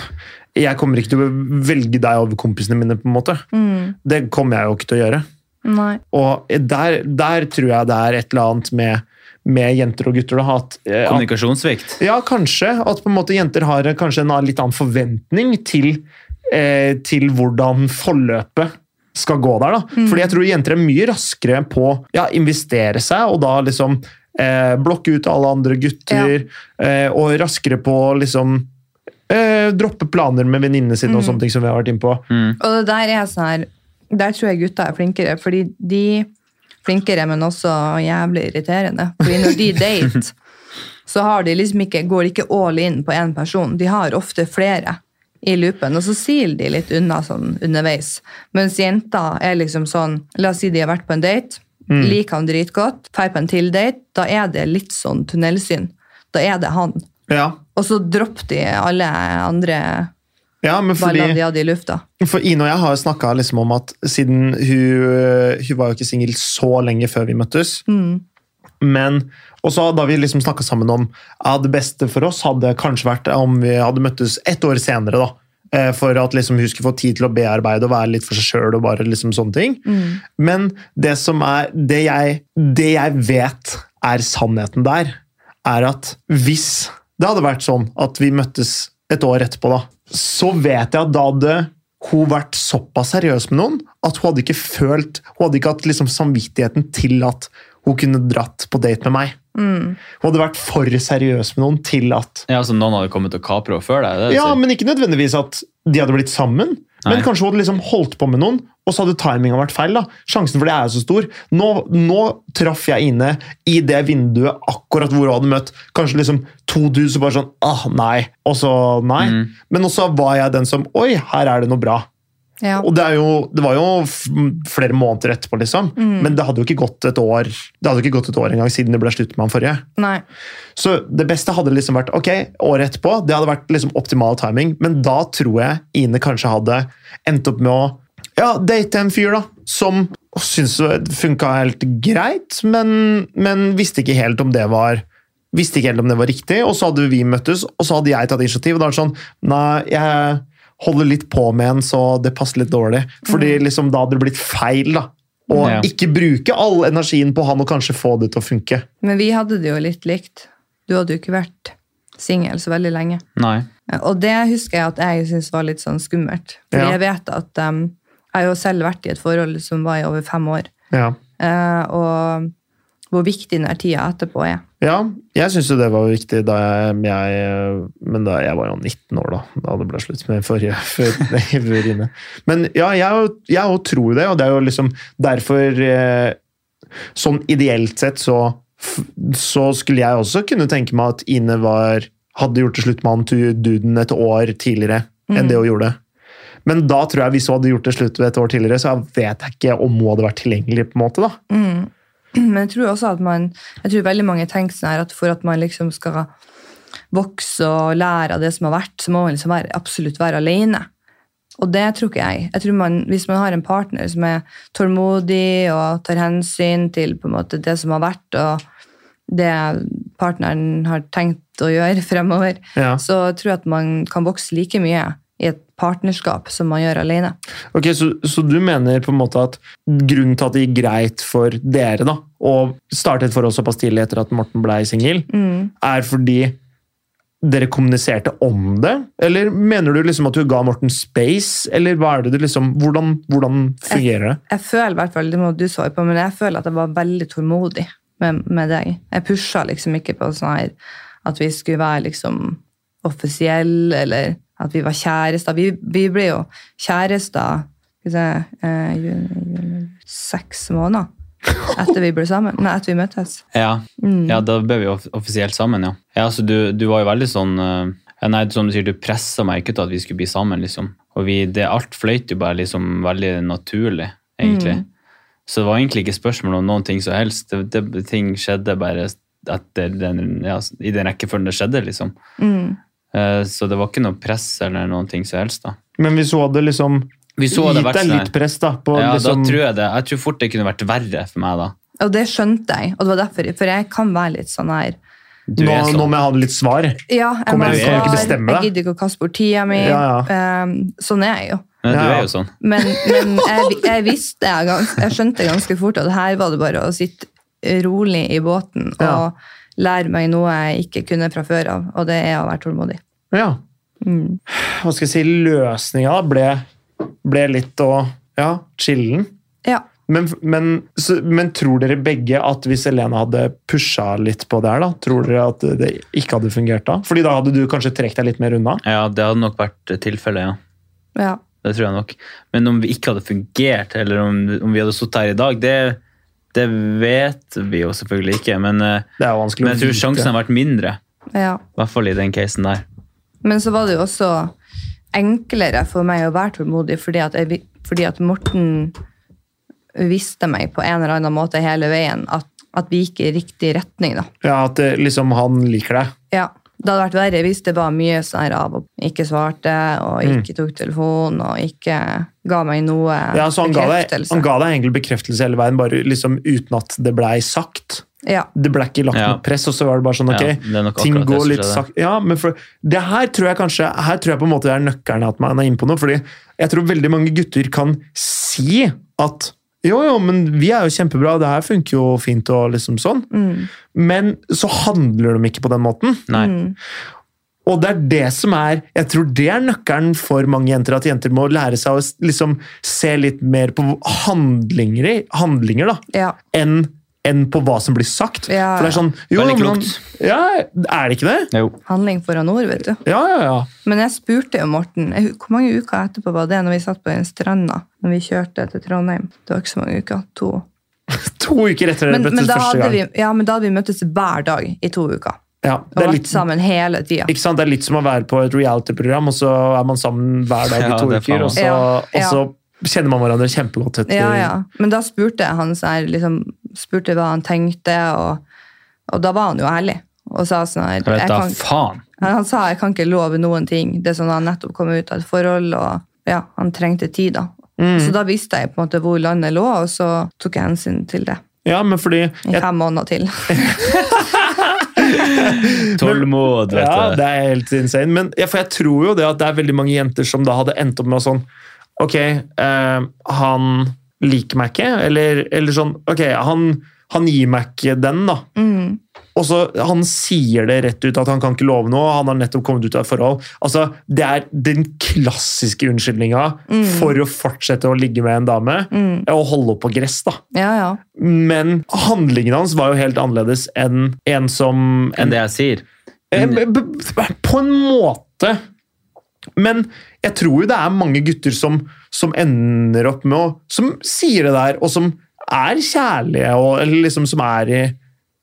jeg kommer ikke til å velge deg over kompisene mine, på en måte. Mm. Det kommer jeg jo ikke til å gjøre. Nei. Og der, der tror jeg det er et eller annet med, med jenter og gutter. Da, at, eh, at, Kommunikasjonssvikt. ja, kanskje. At på en måte jenter har eh, kanskje en annen- litt annen forventning til, eh, til hvordan forløpet skal gå der. Da. Fordi jeg tror jenter er mye raskere på å ja, investere seg, og da liksom eh, blokke ut alle andre gutter, eh, og raskere på å liksom eh, droppe planer med venninnene sine og sånne ting som vi har vært inne på. Og det der er sånn her Der tror jeg gutta er flinkere, fordi de Flinkere, men også jævlig irriterende. Fordi når de date, så har de liksom ikke, går de ikke all in på én person. De har ofte flere i loopen, og så siler de litt unna sånn underveis. Mens jenta er liksom sånn La oss si de har vært på en date, liker han dritgodt, drar på en til date, da er det litt sånn tunnelsyn. Da er det han. Ja, Og så dropper de alle andre ja men fordi... ballene de hadde i lufta. For Ine og jeg har snakka liksom om at siden hun, eh, hun var jo ikke singel så lenge før vi møttes. Men også da vi liksom snakka sammen om ja, det beste for oss hadde kanskje vært om vi hadde møttes ett år senere. da. Eh, For at liksom hun skulle få tid til å bearbeide og være litt for seg sjøl. og bare liksom sånne ting. Men det som er det jeg, det jeg vet er sannheten der, er at hvis det hadde vært sånn at vi møttes et år etterpå, da, så vet jeg at da hadde hun vært såpass seriøs med noen at hun hadde ikke følt, hun hadde ikke hatt liksom samvittigheten til at hun kunne dratt på date med meg. Hun hadde vært for seriøs med noen til at Ja, altså Noen hadde kommet og kapra før deg. det er det du Ja, sier. men ikke nødvendigvis at de hadde blitt sammen. Men Nei. kanskje hun hadde liksom holdt på med noen, og så hadde timinga vært feil. da. Sjansen for det er jo så stor. Nå, nå traff jeg Ine i det vinduet akkurat hvor hun hadde møtt kanskje liksom to dudes og bare sånn ah, nei. Og så nei. Men også var jeg den som Oi, her er det noe bra. Ja. Og det, er jo, det var jo f- flere måneder etterpå, liksom. Men det hadde jo ikke gått et år Det hadde jo ikke gått et år engang siden det ble slutt med han forrige. Nei. Så det beste hadde liksom vært ok, året etterpå. Det hadde vært liksom optimal timing, men da tror jeg Ine kanskje hadde endt opp med å ja, date en fyr da, som syntes det funka helt greit, men, men visste ikke helt om det var visste ikke helt om det var riktig, og så hadde vi møttes, og så hadde jeg tatt initiativ. og da er det sånn, nei, jeg holder litt på med en, så det passer litt dårlig. Fordi liksom, da hadde det blitt feil, da. Og Ja. ikke bruke all energien på han og kanskje få det til å funke. Men vi hadde det jo litt likt. Du hadde jo ikke vært singel så veldig lenge. Nei. Og det husker jeg at jeg syntes var litt sånn skummelt. Fordi Ja. jeg vet at um, jeg har jo selv vært i et forhold som var i over fem år. Ja. Eh, og hvor viktig den her tida etterpå er. Ja, jeg syns jo det var viktig da jeg, jeg Men da jeg var jo 19 år, da. Da det ble slutt med forrige <laughs> før, før inne. Men ja, jeg, er jo- jeg er jo tror det, og det er jo liksom derfor eh, Sånn ideelt sett så, f- så skulle jeg også kunne tenke meg at Ine var Hadde gjort det slutt med han tu- duden et år tidligere enn det hun gjorde. Men da tror jeg hvis hun hadde gjort det slutt ved et år tidligere, så jeg vet jeg ikke om hun hadde vært tilgjengelig. på en måte da. Men jeg tror også at man Jeg tror veldig mange tenker sånn her at for at man liksom skal vokse og lære av det som har vært, så må man liksom være, absolutt være alene. Og det tror ikke jeg. Jeg tror man, Hvis man har en partner som er tålmodig og tar hensyn til på en måte det som har vært, og det partneren har tenkt å gjøre <laughs> fremover, Ja. så tror jeg at man kan vokse like mye i et partnerskap som man gjør alene. Ok, så, så du mener på en måte at grunnen til at det gikk greit for dere da, å starte et forhold såpass tidlig etter at Morten ble singel, Mm. er fordi dere kommuniserte om det? Eller mener du liksom at du ga Morten space, eller hva er det du liksom Hvordan, hvordan fungerer det? Jeg føler i hvert fall, det må du svare på, men jeg føler at jeg var veldig tålmodig med, med deg. Jeg pusha liksom ikke på sånn her at vi skulle være liksom offisielle, eller at vi var kjærester. Vi, vi ble jo kjærester skal vi se, eh, juni, juni, seks måneder etter vi ble sammen. Nei, etter vi møttes. Ja. ja, da ble vi off offisielt sammen, ja. ja så du, du var jo veldig sånn eh, ja, Nei, som du sier, du pressa meg ikke til at vi skulle bli sammen, liksom. Og vi, det, alt fløyt jo bare liksom veldig naturlig, egentlig. Så det var egentlig ikke spørsmål om noen ting som helst. Det, det, ting skjedde bare etter den, ja, i den rekkefølgen det skjedde, liksom. Mm. Eh, Så det var ikke noe press eller noen ting som helst, da. Men hvis hun hadde liksom Vi så det gitt deg vekslet. litt press, sånn- da på Ja, liksom, da tror jeg det. Jeg tror fort det kunne vært verre for meg, da. Og det skjønte jeg, og det var derfor, for jeg kan være litt sånn her Du nå, er sånn. nå må jeg ha litt svar. Ja, jeg, Kommer må jeg- jeg kan svare, ikke bestemme jeg det. gidder ikke å kaste bort tida mi. Ja, Ehm, sånn er jeg jo. Men Ja, du ja. er jo sånn. Men, men jeg, vi- jeg visste jeg, gans, jeg skjønte ganske fort at her var det bare å sitte rolig i båten og Ja. lære meg noe jeg ikke kunne fra før av, og det er å være tålmodig. Ja. Mm. Hva skal jeg si, løsninga da ble, ble litt å ja, chille'n. Ja. Men, men, så, men tror dere begge at hvis Elena hadde pusha litt på det her, da, tror dere at det ikke hadde fungert da? Fordi da hadde du kanskje trukket deg litt mer unna? Ja, det hadde nok vært tilfellet, ja. ja. Det tror jeg nok. Men om vi ikke hadde fungert, eller om, om vi hadde sittet her i dag, det, det vet vi jo selvfølgelig ikke. Men, eh, Det er jo vanskelig men jeg tror sjansen har vært mindre. ja. I hvert fall i den casen der. Men så var det jo også enklere for meg å være tålmodig, fordi at, jeg, vi- fordi at Morten visste meg på en eller annen måte hele veien at, at vi gikk i riktig retning. da. Ja, At eh, liksom han liker deg. Ja, Det hadde vært verre hvis det var mye sånn her av og ikke svarte, og Mm. ikke tok telefonen, og ikke ga meg noe Ja, så han ga, deg, bekreftelse. han ga deg egentlig bekreftelse hele veien, bare liksom uten at det blei sagt. Ja, Det ble ikke lagt Ja. noe press, og så var det bare sånn ok, Ja, det er nok ting akkurat det går som litt skjedde. sakte. Ja, men for, det her tror jeg kanskje her tror jeg på en måte det er nøkkelen at man er inne på noe. fordi jeg tror veldig mange gutter kan si at jo, jo, men vi er jo kjempebra, det her funker jo fint og liksom sånn. Men så handler de ikke på den måten. Nei. Og det er det som er Jeg tror det er nøkkelen for mange jenter, at jenter må lære seg å s- liksom se litt mer på handlinger, i- handlinger da, ja, enn enn på hva som blir sagt. Ja, For det er sånn, jo, Veldig men han- klokt. Ja, er det ikke det? Jo. Handling foran ord, vet du. Ja, ja, ja. Men jeg spurte jo Morten jeg- Hvor mange uker etterpå var det når vi satt på den stranda når vi kjørte til Trondheim? Det var ikke så mange uker. To. To uker etter det Men, men, møttes da, første hadde gang. vi, ja, men da hadde vi møttes hver dag i to uker. Ja, Og det, er vært litt, sammen hele tida. ikke sant? det er litt som å være på et reality-program, og så er man sammen hver dag i <laughs> Ja, to det er faen uker, og så, Ja, og ja. så kjenner man hverandre kjempegodt etter Ja, ja. Men da spurte jeg han sånn her, liksom, spurte hva han tenkte, og, og da var han jo ærlig. Og sa sånn her, Jeg vet jeg da, kan, <laughs> faen! han, han sa jeg kan ikke love noen ting. Det er sånn han nettopp kom ut av et forhold, og ja, han trengte tid da. Mm. Så da visste jeg på en måte hvor landet lå, og så tok jeg hensyn til det. Ja, men fordi I jeg, fem måneder til. <laughs> Tålmod, vet Ja, du. det er helt insane. Men ja, for jeg tror jo det at det er veldig mange jenter som da hadde endt opp med å sånn Ok, eh, han liker meg ikke, eller, eller sånn Ok, han, han gir meg ikke den, da. Mm. Og så Han sier det rett ut at han kan ikke love noe, han har nettopp kommet ut av et forhold. Altså, Det er den klassiske unnskyldninga for å fortsette å ligge med en dame Mm. og holde opp på gress. da. Ja, ja. Men handlingen hans var jo helt annerledes enn en som Enn det jeg sier. Eh, b- b- På en måte. Men jeg tror jo det er mange gutter som, som ender opp med å Som sier det der, og som er kjærlige, og, eller liksom som er i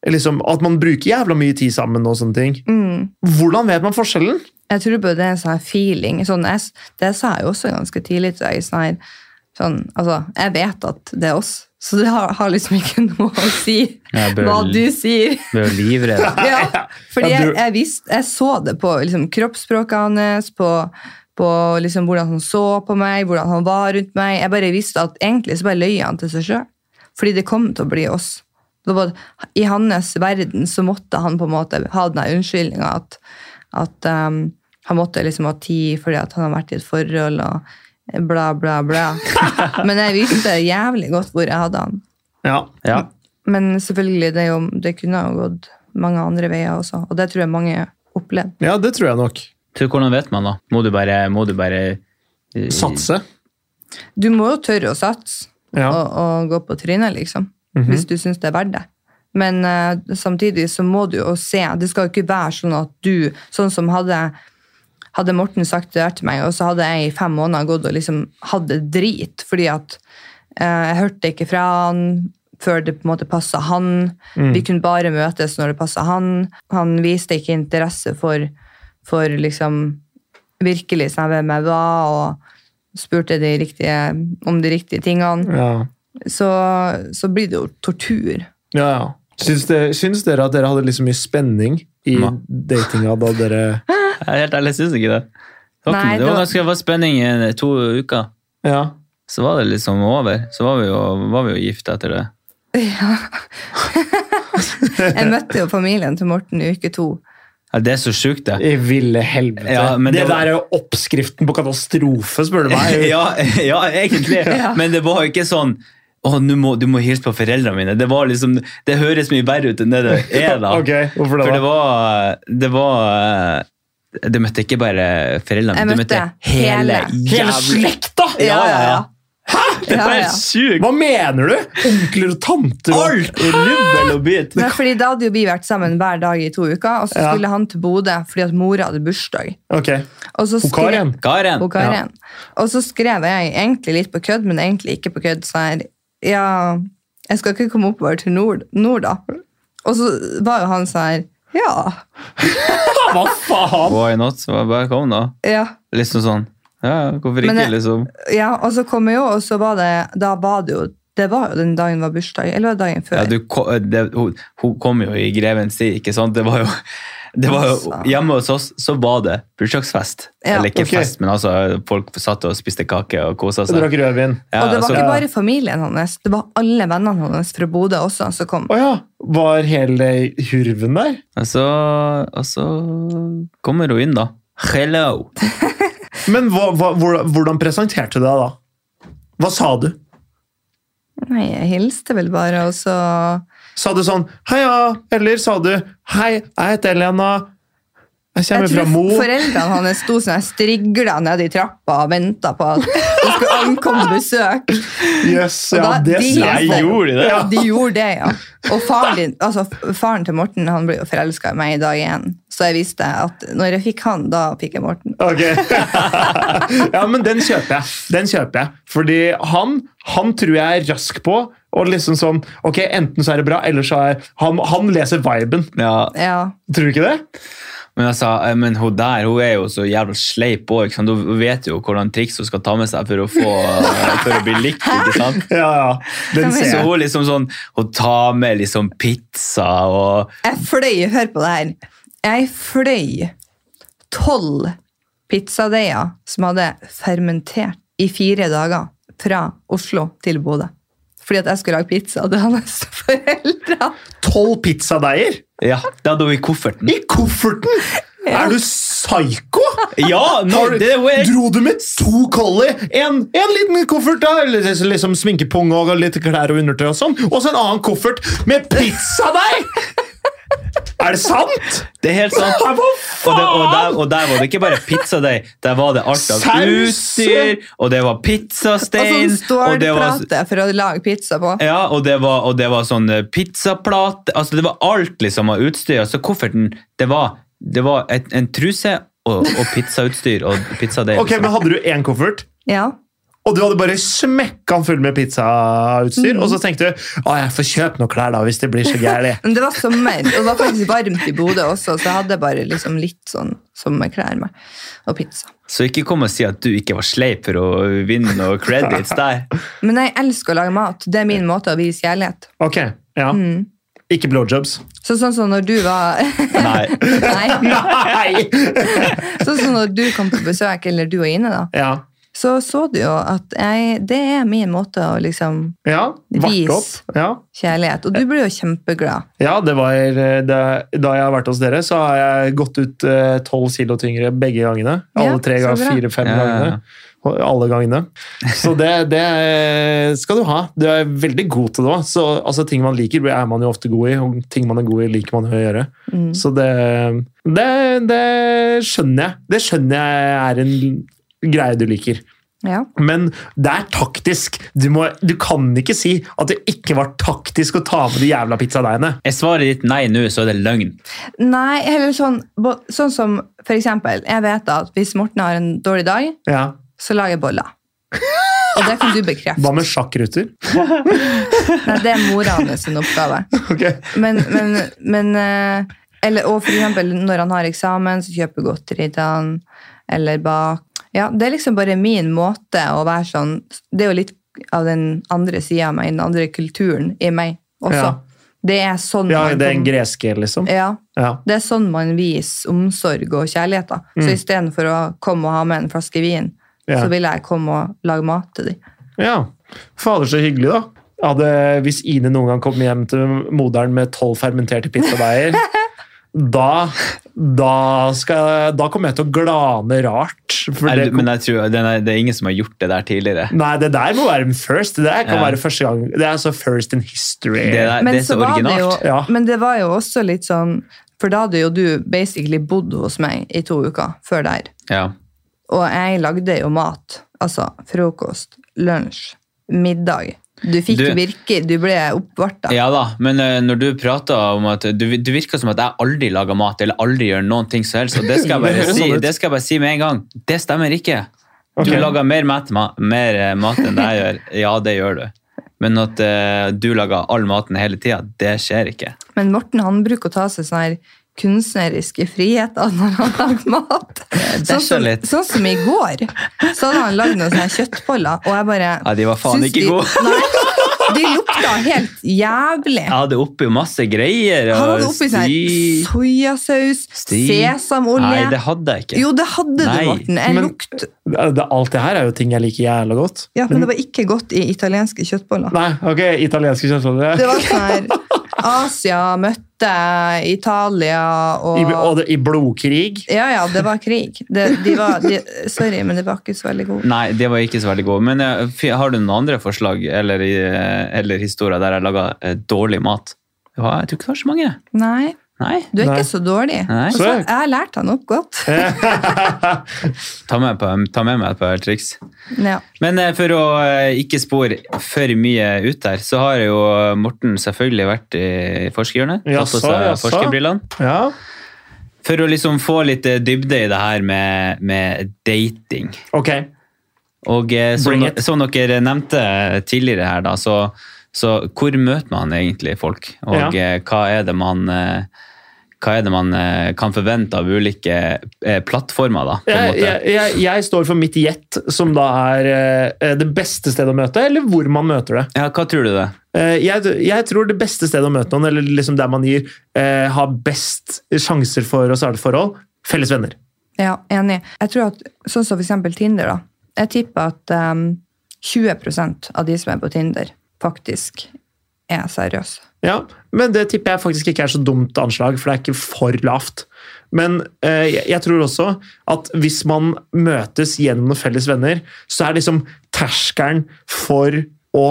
liksom, At man bruker jævla mye tid sammen og sånne ting. Mm. Hvordan vet man forskjellen? Jeg tror på det er en sånn her feeling. Sånn, jeg, s- det sa jeg jo også ganske tidlig til deg. Sånn her, sånn, altså, jeg vet at det er oss, så det har, har liksom ikke <laughs> noe å si Jeg bør- hva du sier. Du er jo <laughs> livredd. Ja, fordi Ja, du- jeg, jeg, visste, jeg så det på liksom, kroppsspråket hans, på, på liksom, hvordan han så på meg, hvordan han var rundt meg. Jeg bare visste at egentlig så bare løy han til seg sjøl. Fordi det kom til å bli oss. Det var bare, I hans verden så måtte han på en måte ha den unnskyldninga at, at um, han måtte liksom ha tid fordi at han har vært i et forhold og bla, bla, <laughs> bla. Men jeg visste jævlig godt hvor jeg hadde han. Ja. Ja. Men selvfølgelig, det, er jo, det kunne jo gått mange andre veier også, og det tror jeg mange opplevde. ja, det tror jeg nok. Så hvordan vet man, da? Må du bare, må du bare eh, Satse. Du må jo tørre å satse Ja. og, og gå på trynet, liksom. Hvis du syns det er verdt det. Men eh, samtidig så må du jo se. Det skal jo ikke være sånn at du Sånn som hadde hadde Morten sagt det der til meg, og så hadde jeg i fem måneder gått og liksom hatt det drit, fordi at eh, jeg hørte ikke fra han før det på en måte passa han. Vi kunne bare møtes når det passa han. Han viste ikke interesse for, for liksom virkelig sånn hvem jeg var, og spurte de riktige, om de riktige tingene Ja. så, så blir det jo tortur. Ja, ja. Syns, det, syns dere at dere hadde liksom mye spenning i Nei. datinga da dere Jeg er <laughs> Helt ærlig syns ikke det. Det var, Nei, det ikke- det var var- ganske det var spenning i to uker. Ja. Så var det liksom over. Så var vi jo, var vi jo gift etter det. Jeg møtte jo familien til Morten i uke to. Ja, det er så sjukt, det. I ville helvete. Ja, men det det var- der er jo oppskriften på katastrofe, spør du meg. <laughs> Ja, ja, <laughs> egentlig. Ja. Men det var jo ikke sånn å, nå må, du må hilse på foreldrene mine. Det var liksom, det høres mye verre ut enn det det er. da. <laughs> Ok, hvorfor det For da? det var, det var Du møtte ikke bare foreldrene, Jeg du møtte møtte hele, hele- Hele jævla- slekta! Ja, ja, ja. Ja, Det var ja. sjukt! Hva mener du? Onkler og tanter og Alt! Rubbel og bit. Nei, fordi Da hadde jo vi vært sammen hver dag i to uker, og så Ja. skulle han til Bodø fordi at mora hadde bursdag. Ok. Og så Og Karen? Karen. Og Karen. Og så skrev jeg egentlig litt på kødd, men egentlig ikke på kødd. Så jeg, ja, jeg skal ikke komme oppover til nord, nord da. Og så var jo han sånn her Ja. Hva faen? Why not? Så jeg bare kom, da. ja. Liksom sånn. Ja, hvorfor ikke, Men det- liksom? Ja, og så kom jeg jo, og så var det Da var det jo Det var jo den dagen var bursdag, eller var det dagen før? Ja, du, ko- eh, det, hun, hun kom jo i Grevens tid, ikke sant? Det var jo, <laughs> det var jo Altså. Hjemme hos oss så var det bursdagsfest. Ja. Eller ikke Ok. fest, men altså, folk satt og spiste kake og kosa Jeg seg. drakk rødvin. Ja, altså- og det var så- ja. ikke bare familien hans, det var alle vennene hans fra Bodø også som kom. Å ja. Var hele hurven der? Og så, og så kommer hun inn, da. Hello! Men hva, hva, hvor- hvordan presenterte du deg da? Hva sa du? Nei, jeg hilste vel bare, og så Sa du sånn 'heia', eller sa du 'hei, jeg heter Elena', jeg kommer Jeg fra tror Mo? foreldrene hans sto sånn strigla nede i trappa og venta på at det skulle ankomme besøk. Jøss, Og ja, da- det de- ser Nei, jeg gjorde de det? Ja. De gjorde det, ja. Og faren, din, altså, f- faren til Morten han ble jo forelska i meg i dag igjen, så jeg visste at når jeg fikk han, da fikk jeg Morten. Ok. <laughs> ja, men den kjøper jeg. Den kjøper jeg. Fordi han, han tror jeg er rask på. Og liksom sånn, ok, Enten så er det bra, eller så er Han, han leser viben. Ja, Ja, Tror du ikke det? men, jeg sa, eh, men hun der hun er jo så jævla sleip òg. Hun vet jo hvordan triks hun skal ta med seg for å, få, eh, for å bli likt. ikke sant? Ja, ja. Den ser Så jeg. hun liksom sånn, hun tar med liksom pizza og Jeg fløy, hør på det her. Jeg fløy tolv pizzadeiger som hadde fermentert i fire dager fra Oslo til Bodø. Fordi at jeg skulle lage pizza til hans foreldre. Tolv pizzadeiger Ja, det hadde hun i kofferten. i kofferten! Er du psyko? Ja, no, Har du- det var helt- Dro du med to collie? En, en liten koffert da, eller liksom- liksom sminkepung og litt klær og undertøy og sånn, og så en annen koffert med pizzadeig! er det sant?! det er helt sant. Hva Og, det, og, faen?! der, og der var det ikke bare pizzadeig, der var det alt av Saus. utstyr, og det var Og sånn pizzastein og det var, stålplate for å lage pizza på. ja, og det var, og det var sånn eh, pizzaplate altså Det var alt liksom av utstyr. Altså kofferten Det var, det var et, en truse og, og pizzautstyr og pizzadeig. Ok, liksom. men Hadde du én koffert, Ja. og du hadde bare smekka den full med pizzautstyr, og så tenkte du å, jeg får kjøpe noen klær da, hvis det blir så gærent. Men det var sommer, og det var faktisk varmt i Bodø også, så jeg hadde bare liksom litt sånn sommerklær med, og pizza. Så ikke kom og si at du ikke var sleip for å vinne noen credits der. Men jeg elsker å lage mat. Det er min måte å vise kjærlighet. Ok, ja. Mm. Ikke blowjobs. Så sånn som når du var <laughs> Nei. Nei. Nei! Sånn som når du kom på besøk, eller du og Ine, da, <laughs> Ja. så så du jo at jeg, det er min måte å liksom Ja, Vis. vart opp. Ja. kjærlighet. Og du blir jo kjempeglad. Ja, det var, eh, det, da jeg har vært hos dere, så har jeg gått ut eh, tolv kilo tyngre begge gangene. Alle Ja, tre så ganger, bra. Ja, fire-fem ja, ja. gangene. Og Alle gangene. Så det, det skal du ha. Du er veldig god til det òg. Altså, ting man liker, er man jo ofte god i, og ting man er god i, liker man å gjøre. Mm. Så det, det, det skjønner jeg. Det skjønner jeg er en greie du liker. Ja. Men det er taktisk. Du, må, du kan ikke si at det ikke var taktisk å ta med de jævla pizzadeigene. Er svaret ditt nei nå, så er det løgn. Nei, heller sånn, bo- sånn som for eksempel, jeg vet at hvis Morten har en dårlig dag, Ja. så lager jeg boller. Og det kan du bekrefte. Hva med sjakkruter? Nei, det er mora hans sin oppgave. <laughs> Ok. Men, men, men eh, eller, Og for eksempel når han har eksamen, så kjøper jeg godteri til han. Eller bak. Ja, det er liksom bare min måte å være sånn Det er jo litt av den andre sida av meg, den andre kulturen i meg også. Ja. Det er sånn Ja, man det er en kom- greske, liksom. ja, Ja. det er sånn man viser omsorg og kjærlighet. da. Så istedenfor å komme og ha med en flaske vin, Mm. Ja. så vil jeg komme og lage mat til dem. ja. Fader, så hyggelig, da. Hadde, hvis Ine noen gang kom hjem til moderen med tolv fermenterte <laughs> pizzadeiger, da, da, skal, da kommer jeg til å glane rart. For Er, det, du- men jeg tror, det, er, det er ingen som har gjort det der tidligere. nei, det der må være en first. Det der kan Ja. være første gang. Det er altså first in history. Det, der, det Men, er så, så var det jo, originalt. Ja. men det var jo også litt sånn For da hadde jo du basically bodd hos meg i to uker før der. Ja. Og jeg lagde jo mat. Altså frokost, lunsj, middag. Du fikk Du- virke, du ble oppvarta. ja da, men eh, når du prater om at du, du virker som at jeg aldri lager mat eller aldri gjør noen ting som helst, og det <laughs> skal jeg Det bare, høres si, sånn ut. det skal jeg bare si med en gang. Det stemmer ikke. Du Ok. lager mer mat, ma, mer eh, mat enn jeg gjør. <laughs> Ja, det gjør du. Men at eh, du lager all maten hele tida, det skjer ikke. Men Morten han bruker å ta seg sånne her kunstneriske friheter når han lager <laughs> mat. dasher Sånn som, litt. sånn som i går. Så hadde han lagd noen sånne kjøttboller, og jeg bare Ja, de var faen syns ikke de- gode. Nei, de lukta helt jævlig. Jeg hadde oppi masse greier. Han hadde og oppi sånn her sti- soyasaus, sti- Nei, sesamolje det hadde jeg ikke. Jo, det hadde Nei, du, Morten. En men- lukt. Det, alt det her er jo ting jeg liker jævla godt. Ja, men det var ikke godt i italienske kjøttboller. Nei, ok, italienske Det kjøttboller. var sånn her Asia møtte Italia I, og og det, I blodkrig. <laughs> Ja, ja, det var krig. Det, de var, de, sorry, men det var ikke så veldig god. Nei, det var ikke så veldig god. Men eh, fi- har du noen andre forslag eller, eh, eller historier der jeg laga dårlig mat? Ja, jeg tror ikke det var så mange. Nei, Nei. du er Nei. ikke så dårlig. Nei. Og så- jeg har lært han opp godt. Ta med, på, ta med meg et par triks. Ja. Men eh, for å eh, ikke spore for mye ut der, så har jo Morten selvfølgelig vært i forskerhjørnet. Ja, Tatt på så, seg ja, så. forskerbrillene. Ja, For å liksom få litt eh, dybde i det her med, med dating. ok. Og eh, som, Bring it. som dere nevnte tidligere her, da, så, så hvor møter man egentlig folk? Og Ja. eh, hva er det man, eh, hva er det man eh, kan forvente av ulike eh, plattformer, da? På en Jeg, måte? jeg, jeg, jeg står for mitt gjett, som da er eh, det beste stedet å møte, eller hvor man møter det. Ja, hva tror du det? Eh, jeg, jeg tror det beste stedet å møte noen, eller liksom der man gir, eh, har best sjanser for å starte forhold, felles venner. ja, enig. Jeg tror at, Sånn som for eksempel Tinder, da. Jeg tipper at um, 20 av de som er på Tinder, faktisk er seriøse. Ja, men det tipper jeg faktisk ikke er så dumt anslag, for det er ikke for lavt. Men eh, jeg- jeg tror også at hvis man møtes gjennom noen felles venner, så er liksom terskelen for å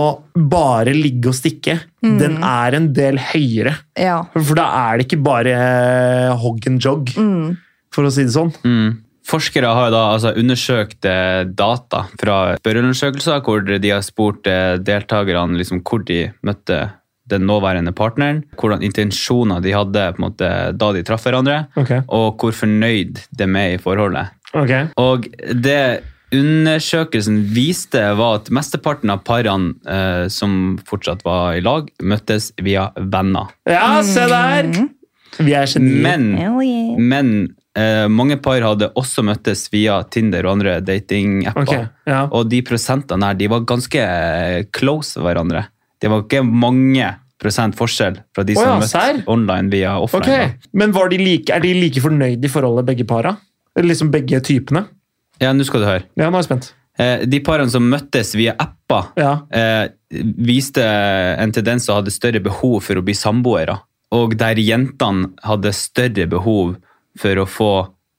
bare ligge og stikke, den er en del høyere. Ja. For da er det ikke bare eh, hogg and jog, for å si det sånn. Mm. Forskere har jo da altså, undersøkt eh, data fra spørreundersøkelser hvor de har spurt eh, deltakerne liksom, hvor de møtte den nåværende partneren, hvordan intensjoner de hadde på en måte, da de traff hverandre, Ok. og hvor fornøyd de er i forholdet. Og det undersøkelsen viste var at mesteparten av parene eh, som fortsatt var i lag, møttes via venner. Ja, se der! Vi er genier. Men Hell yeah. Men eh, mange par hadde også møttes via Tinder og andre datingapper. Ok, ja. Og de prosentene her, de var ganske eh, close hverandre. Det var ikke mange prosent forskjell fra de Å som ja, møttes serr? online via offline. Ok, Men var de like, er de like fornøyd i forholdet, begge para? Eller liksom begge typene? da. Ja, nå skal du høre. Ja, nå er jeg spent. eh, de parene som møttes via apper, Ja. eh, viste en tendens til å ha større behov for å bli samboere. Og der jentene hadde større behov for å få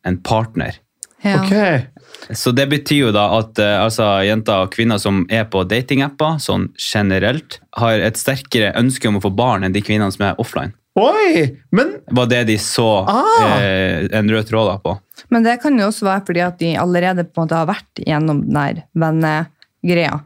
en partner. Ja. Ok. Så det betyr jo da at eh, altså, jenter og kvinner som er på datingapper, sånn generelt, har et sterkere ønske om å få barn enn de kvinnene som er offline. Oi! Men Var det de så Ah! eh, en rød tråd da på. Men det kan jo også være fordi at de allerede på en måte har vært gjennom den der vennegreia.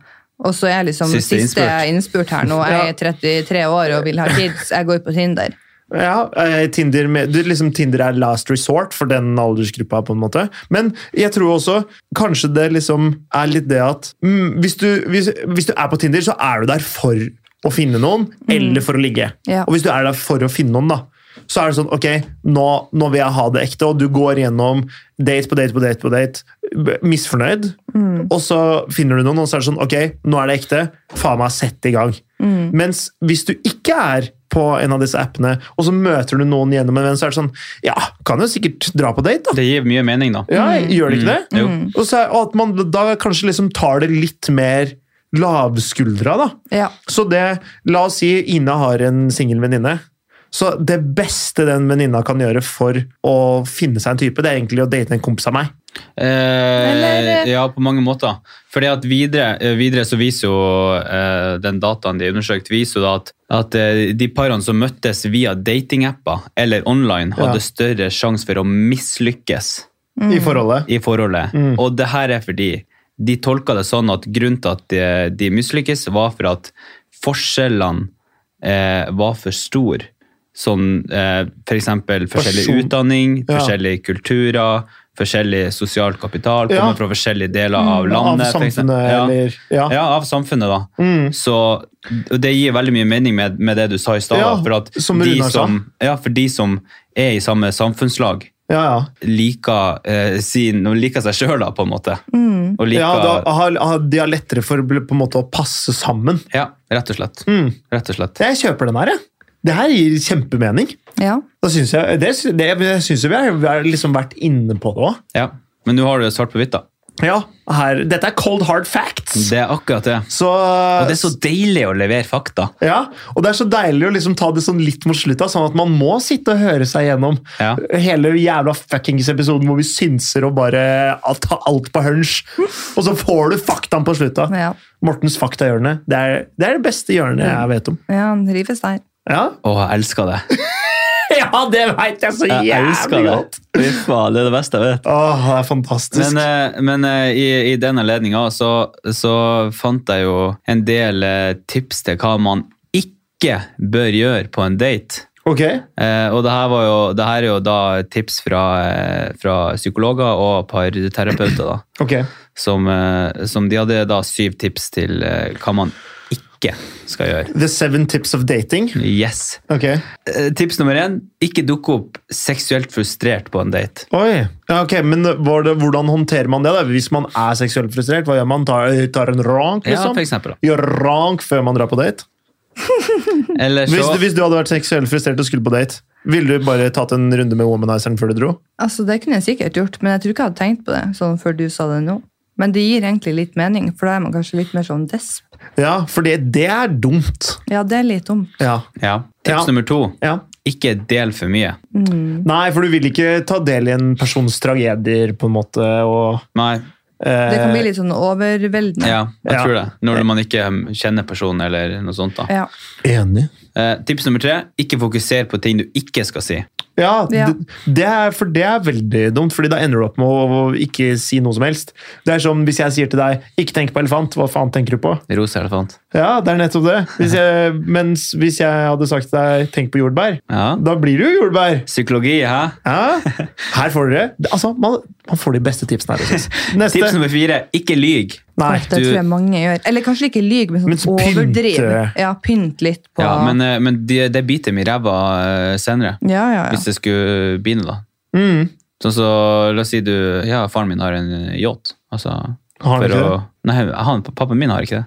Og så er jeg liksom Siste siste, innspurt. innspurt her nå. Jeg er 33 år og vil ha kids. Jeg går på Tinder. Ja, eh, Tinder, med, du, liksom Tinder er last resort for den aldersgruppa, på en måte. Men jeg tror også kanskje det liksom er litt det at mm, hvis, du, hvis, hvis du er på Tinder, så er du der for å finne noen, eller for å ligge. Ja. Og hvis du er der for å finne noen, da, så er det sånn Ok, nå, nå vil jeg ha det ekte, og du går gjennom date på date på date på date, b- misfornøyd, og så finner du noen, og så er det sånn Ok, nå er det ekte. Faen meg, sett i gang. Mens hvis du ikke er på en av disse appene, og så møter du noen gjennom en venn, så er det sånn Ja, kan jo sikkert dra på date, da. Det gir mye mening, da. Ja, Gjør det ikke det? Jo. Og, så, er- og at man da kanskje liksom tar det litt mer lavskuldra, da. Ja. Så det, la oss si Ina har en singel venninne. Så det beste den venninna kan gjøre for å finne seg en type, det er egentlig å date en kompis av meg. Eh, Eller- ja, på mange måter. Fordi at videre, eh, videre så viser jo eh, den dataen de har undersøkt, viser jo da at, at eh, de parene som møttes via datingapper eller online, Ja. hadde større sjanse for å mislykkes i forholdet. i forholdet. Mm. Og det her er fordi de tolka det sånn at grunnen til at de, de mislykkes, var for at forskjellene eh, var for store. Sånn eh, f.eks. forskjellig Person- utdanning, Ja. forskjellige kulturer, forskjellig sosial kapital, Ja. Mm, kommer fra forskjellige deler av Av landet. eh, for eksempel. samfunnet, ja. eller Ja. Ja, av samfunnet, da. Mm. Så og Det gir veldig mye mening med, med det du sa i stad. Ja, da, for, at som de Runar sa. som, ja, for de som er i samme samfunnslag, ja, ja. liker, eh, sin, de liker seg sjøl, da, på en måte. Mm. Og liker, ja ja, da har, har, de har lettere for å bli- på en måte å passe sammen. rett og slett. Mm. Rett og slett. Jeg kjøper den her, jeg. Det her gir kjempemening. ja. Da synes jeg, det sy- det, jeg syns vi har, vi har liksom vært inne på det òg. Ja. Men nå har du det svart på hvitt, da. Ja, her, dette er cold hard facts. Det er akkurat det. Så, Og det er så deilig å levere fakta. Ja, og det er så deilig å liksom ta det sånn litt mot slutta, sånn at man må sitte og høre seg gjennom Ja. hele jævla fuckings episoden hvor vi synser og bare tar alt på hunch, og så får du faktaen på slutta. Ja. Mortens faktahjørne. Det er, det er det beste Mm. hjørnet jeg vet om. ja han rives der. Ja, <laughs> Å, jeg elsker det. ja det veit jeg så Jeg elsker jævlig det. godt! Fy faen, det er det beste jeg vet. Åh, det er fantastisk. Men, eh, men eh, i, i den anledninga så, så fant jeg jo en del eh, tips til hva man ikke bør gjøre på en date. ok, Eh, og det her, var jo, det her er jo da tips fra, eh, fra psykologer og parterapeuter, da. ok. Som, eh, som de hadde da syv tips til eh, hva man ikke skal gjøre. The seven tips of dating. Yes. Ok. Eh, Tips nummer én ikke dukke opp seksuelt frustrert på en date. Oi. Ja, ok, Men var det, hvordan håndterer man det? da? Hvis man er seksuelt frustrert, hva gjør man? Tar, tar en rank, Ja, liksom? for eksempel. da. gjør rank før man drar på date. Eller Hvis, så, hvis du hadde vært seksuelt frustrert og skulle på date, ville du bare tatt en runde med womanizeren før du dro? Altså, det kunne jeg sikkert gjort, men jeg tror ikke jeg hadde tenkt på det sånn før du sa det nå. Men det gir egentlig litt mening, for da er man kanskje litt mer sånn desp. Ja, for det, det er dumt. Ja, det er litt dumt. Ja. ja. Tips Ja. nummer to ja. ikke del for mye. Nei, for du vil ikke ta del i en persons tragedier, på en måte, og Nei, eh, Det kan bli litt sånn overveldende. ja, jeg Ja. tror det. Når man ikke um, kjenner personen eller noe sånt. da. Ja. Enig. Eh, tips nummer tre ikke fokuser på ting du ikke skal si. Ja, Ja. Det, det er, for det er veldig dumt, fordi da ender du opp med å, å ikke si noe som helst. Det er som hvis jeg sier til deg 'ikke tenk på elefant', hva faen tenker du på? Rosa elefant. Ja, det er nettopp det. Hvis jeg, mens hvis jeg hadde sagt til deg 'tenk på jordbær', Ja. da blir det jo jordbær. Psykologi, hæ? Ja, her får dere det- Altså, man, man får de beste tipsene her. jeg <laughs> synes. Tips Neste. nummer fire ikke lyg. Nei. det du- tror jeg mange gjør. Eller kanskje ikke lyg, men sånn Men så pynt, overdriv. eh. Ja, pynt litt på Ja, men, eh, men det, det biter meg i ræva eh, senere. ja, ja, ja. Hvis det skulle begynne, da. Mm. Sånn så, La oss si du Ja, faren min har en eh, yacht. Altså, Har han for ikke å, Nei, han, pappaen min har <laughs> ikke det.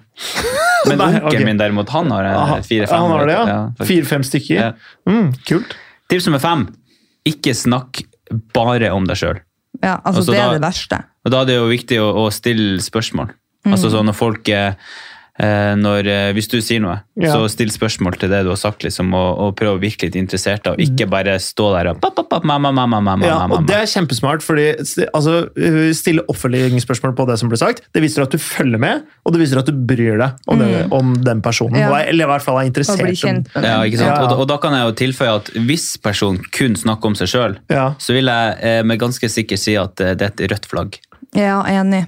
Men Nei, onkelen ok. min derimot, han har Aha, fire-fem. han har det, ja. faktisk. Fire-fem stykker. Ja. Mm, kult. Tips nummer fem. Ikke snakk bare om deg sjøl. Ja, altså Altså, det er da- det verste. Og da er det jo viktig å, å stille spørsmål. Mm. Altså sånn når folk eh, eh, når, eh, Hvis du sier noe, Ja. så still spørsmål til det du har sagt, liksom, og, og prøv å virke litt interessert, da, og ikke bare stå der og pap, pap, pap, mamma, mamma, mamma, Mm. Ja, mamma, og det mamma. er kjempesmart, fordi sti- altså, uh, stille oppfølgingsspørsmål på det som blir sagt, det viser at du følger med, og det viser at du bryr deg om, det, Mm. om den personen. Ja. og er- Eller i hvert fall Å er interessert. bli kjent med Ja, den. ikke sant? Ja. Og, da- og da kan jeg jo tilføye at hvis personen kun snakker om seg sjøl, Ja. så vil jeg eh, med ganske sikker si at eh, det er et rødt flagg. Ja, enig.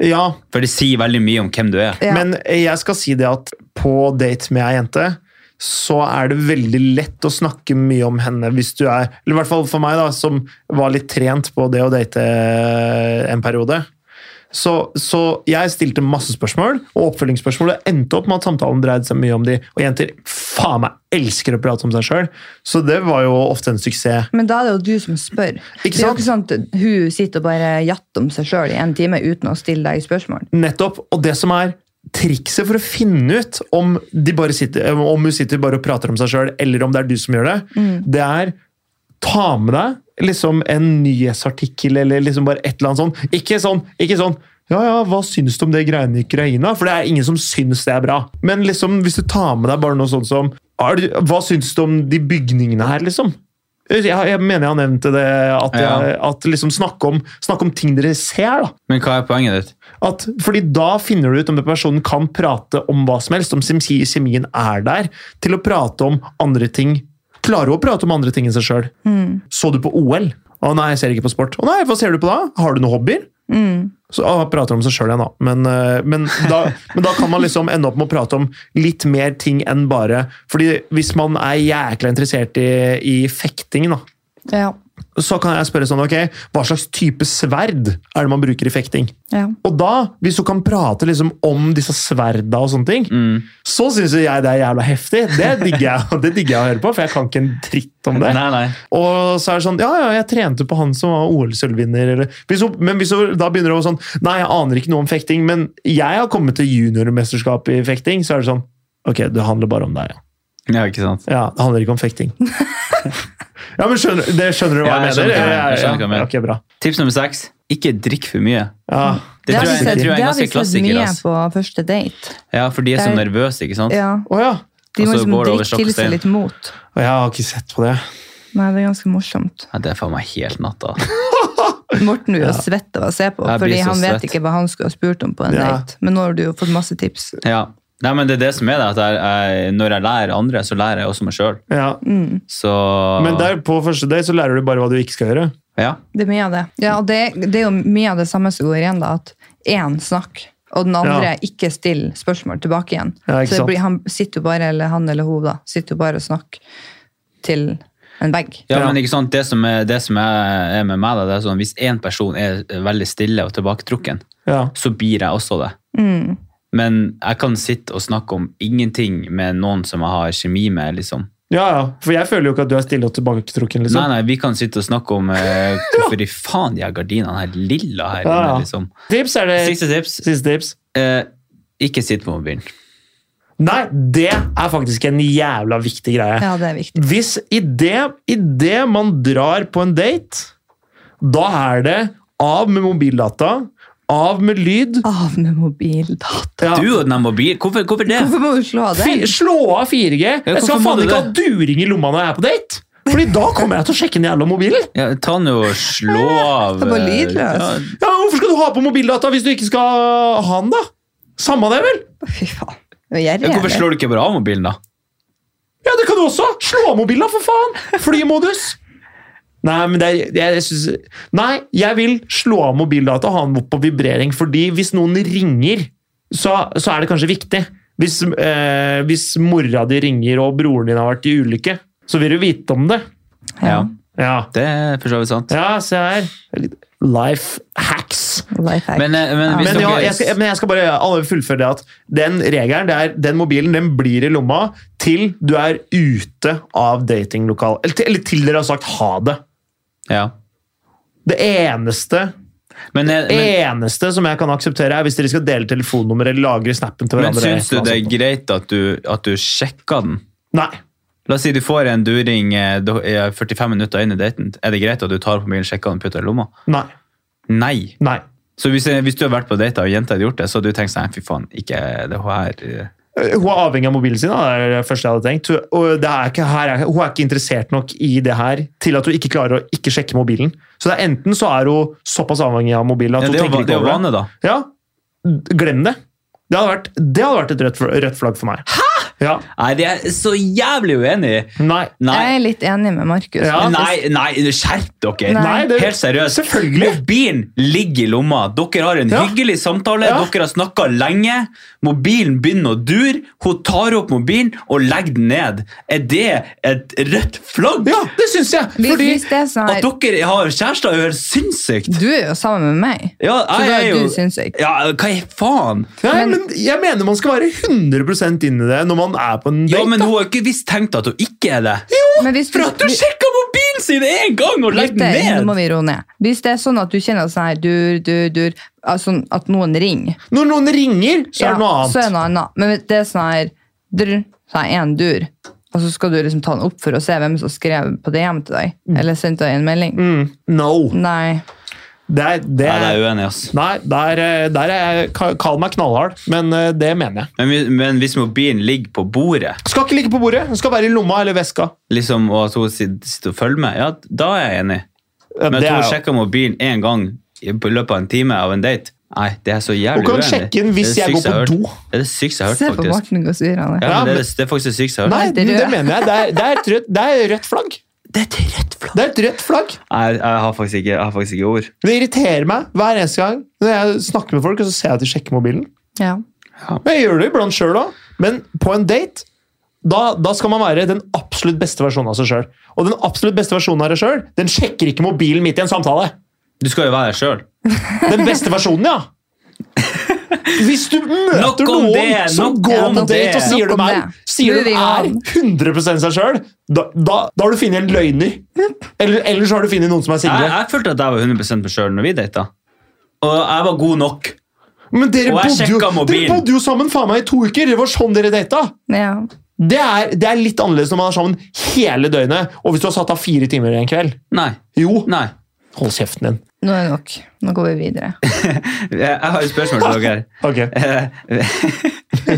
Ja, For det sier veldig mye om hvem du er. Ja. Men jeg skal si det at på date med ei jente, så er det veldig lett å snakke mye om henne hvis du er Eller i hvert fall for meg, da, som var litt trent på det å date en periode. Så, så jeg stilte masse spørsmål, og oppfølgingsspørsmålet endte opp med at samtalen dreide seg mye om de, og jenter faen meg elsker å prate om seg sjøl, så det var jo ofte en suksess. Men da er det jo du som spør. Det er jo sant? ikke sant at hun sitter og bare jatter om seg sjøl i en time uten å stille deg spørsmål. Nettopp. Og det som er trikset for å finne ut om, de bare sitter, eh, om hun sitter bare og prater om seg sjøl, eller om det er du som gjør det, det er ta med deg liksom en nyhetsartikkel eller liksom bare et eller annet sånn. Ikke sånn, ikke sånn. Ja, ja, hva syns du om det greiene i Ukraina? For det er ingen som syns det er bra. Men liksom, hvis du tar med deg bare noe sånt som er du, Hva syns du om de bygningene her, liksom? Jeg, jeg mener jeg nevnte det, at, Ja. jeg, at liksom snakke om, snakke om ting dere ser, da. Men hva er poenget ditt? At, fordi da finner du ut om den personen kan prate om hva som helst, om sem- kjemien er der, til å prate om andre ting. Klarer hun å prate om andre ting enn seg sjøl? Så du på OL? Å nei, jeg ser ikke på sport. Å nei, hva ser du på da? Har du noen hobbyer? Så ah, prater om seg sjøl igjen, da. Men, eh, men, da <laughs> men da kan man liksom ende opp med å prate om litt mer ting enn bare Fordi hvis man er jækla interessert i, i fekting, da, Ja. så kan jeg spørre sånn Ok, hva slags type sverd er det man bruker i fekting? ja. Og da, hvis du kan prate liksom om disse sverda og sånne ting, Mm. så syns jeg det er jævla heftig. <laughs> Det digger, jeg, det digger jeg å høre på, for jeg kan ikke en dritt om det. Nei, nei. Og så er det sånn Ja, ja, jeg trente på han som var OL-sølvvinner, eller hvis hun, Men hvis hun da begynner å sånn Nei, jeg aner ikke noe om fekting, men jeg har kommet til juniormesterskap i fekting, så er det sånn Ok, det handler bare om deg, ja. Ja, ikke sant? ja det handler ikke om <laughs> fekting. ja, men skjønner, det skjønner du hva Ja, jeg jeg, skjønner hva mener? du mener. Jeg skjønner hva jeg ja, mener. ok, bra. Tips nummer seks. Ikke drikk for mye. Ja. Det, har vi tror jeg, det sett- tror jeg det er har vi ganske sett klassiker. mye ass. på første date. Ja, for de er så Det er- nervøse, ikke sant? Ja. Å ja. De Og må så liksom Altså, går det over drikke til sjokkestein. seg litt mot. Å, Jeg har ikke sett på det. Nei, det er ganske morsomt. Ja, det er faen meg helt natta. Morten blir jo svett av å se på, Jeg blir fordi så han vet svett. ikke hva han skulle ha spurt om på en Ja. date. Men nå har du jo fått masse tips. Ja. Nei, men det er det som er det, at jeg, jeg, når jeg lærer andre, så lærer jeg også meg sjøl. Ja. Mm. Så Men der på første date så lærer du bare hva du ikke skal gjøre. Ja. Det er mye av det. Ja, og det, det er jo mye av det samme som går igjen, da. At én snakk, og den andre Ja. ikke stiller spørsmål tilbake igjen. Ja, så ikke det sant. blir, han sitter jo bare, eller han eller hun, da, sitter jo bare og snakker til en vegg. ja, Ja. men ikke sant, det som er, det som er, er med meg, da, det er sånn hvis én person er veldig stille og tilbaketrukken, Ja. så blir jeg også det. Men jeg kan sitte og snakke om ingenting med noen som jeg har kjemi med, liksom. ja, ja. For jeg føler jo ikke at du er stille og tilbaketrukken. liksom. Nei, nei, vi kan sitte og snakke om <laughs> eh, hvorfor i faen de her gardinene her lilla her Ja, ja. inne, liksom. Tips er det Siste tips. Siste tips. Eh, ikke sitt på mobilen. Nei, det er faktisk en jævla viktig greie. Ja, det er viktig. Hvis i det, i det man drar på en date, da er det av med mobildata, av med lyd Av med mobildata! ja. Du og den her mobilen, hvorfor, hvorfor det? Hvorfor må du slå av Fi- den? Slå av 4G! Jeg hvorfor skal må faen du ikke ha det? during i lomma når jeg er på date! Fordi da kommer jeg til å sjekke den jævla mobilen! Ja, ta nå og <laughs> slå av. Det er bare eh, lydløs. ja, Ja, men Hvorfor skal du ha på mobildata hvis du ikke skal ha den, da? Samme det, vel? Fy faen. Nå er Ja, jeg hvorfor gjerrig. slår du ikke bare av mobilen, da? Ja, det kan du også! Slå av mobilen, da, for faen! Flymodus! Nei, men det er, jeg, jeg synes, nei, jeg vil slå av mobildata og ha den på vibrering, fordi hvis noen ringer, så, så er det kanskje viktig. Hvis, eh, hvis mora di ringer og broren din har vært i ulykke, så vil du vite om det. Ja, Ja, det er for så vidt sant. ja se her. Life hacks. Life hack. Men, eh, men hvis Men, ja, dere- jeg skal, men jeg skal bare alle fullføre det at den regelen, det er, den mobilen, den blir i lomma til du er ute av datinglokal. Eller, til- eller til dere har sagt ha det. ja. Det eneste, Men, eh, men, eneste som jeg kan akseptere, er hvis dere skal dele telefonnummer eller lagre snappen til men hverandre. syns du det er sånn. greit at du, at du sjekker den? Nei. La oss si du får en during eh, da- eh, 45 minutter inn i daten. Er det greit at du tar på mobilen, sjekker den og putter den i lomma? Nei. Nei. Nei. Så hvis, eh, hvis du har vært på date og jenta hadde gjort det, så hadde du tenkt sånn Fy faen, ikke det her eh, Hun er avhengig av mobilen sin, da, det er det første jeg hadde tenkt. Hun- Og det er ikke, her er, hun er ikke interessert nok i det her til at hun ikke klarer å ikke sjekke mobilen. Så det er enten så er hun såpass avhengig av mobilen at ja, hun Det er jo tenker va- det er ikke jo over det. vane, da. Ja, glem det. Det hadde vært, det hadde vært et rødt, fl- rødt flagg for meg. Hæ?! Ja. Nei, det er jeg så jævlig uenig i! Nei. Nei. Jeg er litt enig med Markus. Ja. faktisk. Nei, nei, skjerp dere! Nei. Nei, det- Helt seriøst. Selvfølgelig. Mobilen ligger i lomma. Dere har en Ja. hyggelig samtale. Ja. Dere har snakka lenge. Mobilen begynner å dure. Hun tar opp mobilen og legger den ned. Er det et rødt flagg? Ja, det syns jeg! Hvis- Fordi hvis det er sånn At her, dere har kjærester, er jo helt sinnssykt! Du er jo sammen med meg, Ja, så da jeg er er jo du sinnssyk. Ja, hva i faen? Nei, Men- men jeg mener man skal være 100 inn i det når man er på en date. Ja, men da. hun har jo ikke visst tenkt at hun ikke er det. Men hvis For at du sjekka mobilen sin én gang og legger Gutter, nå den må ned! vi roe ned. Hvis det er sånn at du kjenner sånn her dur, dur, dur, altså at noen ringer, Når noen ringer, så ja, er det noe så er det annet. noe annet. Men det er sånn her dur, så er en dur, og så skal du liksom ta den opp for å se hvem som skrev på DM til deg, eller sendte deg en melding. Mm, no. Nei. Det er, det Nei, er, jeg er uenig, ass. nei, der, eh, der er jeg ka- Kall meg knallhard, men eh, det mener jeg. Men, vi- men hvis mobilen ligger på bordet, Skal ikke ligge på bordet. Skal være i lomma eller veska. liksom, og at hun sit- sitter og følger med, ja, da er jeg enig. Eh, Men at det hun er jo- sjekker mobilen én gang i på løpet av en time av en date, nei, det er så jævlig Hun uenig. kan sjekke inn hvis Det er jeg det går sykeste på jeg har hørt. do. Det er det sykeste jeg har Se hørt, på faktisk. Martin gå svirrende. Ja, Ja, men det, er men- det, det er faktisk det sykeste jeg har hørt. Nei, Nei, det, det er rød. mener jeg. Det er, det, er et rødt, det er rødt flagg. Det er et rødt flagg. Det er et rødt flagg. Nei, jeg har faktisk ikke, jeg har faktisk ikke ord. Det irriterer meg hver eneste gang når jeg snakker med folk og så ser jeg at de sjekker mobilen. Ja. Jeg gjør det iblant sjøl òg, men på en date da, da skal man være den absolutt beste versjonen av seg sjøl. Og den absolutt beste versjonen av deg sjøl den sjekker ikke mobilen midt i en samtale. Du skal jo være deg sjøl. Den beste <laughs> versjonen, ja! Hvis du møter Nok om noen det, som nok går om på det. date og Nok sier de om er, det. sier de Moving er on. 100 seg sjøl, da, da, da har du funnet en løgner. Eller, eller så har du funnet noen som er Jeg, single. jeg følte at jeg var 100 meg sjøl når vi data. Og jeg var god nok. Men dere Og jeg bodde, jo, sjekka mobilen. dere bodde jo sammen faen meg i to uker! Det var sånn dere data! ja. Det er, det er litt annerledes når man er sammen hele døgnet. Og hvis du har satt av fire timer i en kveld. Nei. Jo, Nei. hold kjeften din. Nå er det nok. Nå går vi videre. Jeg jeg har et spørsmål til <laughs> dere. <laughs> Ok, Eh,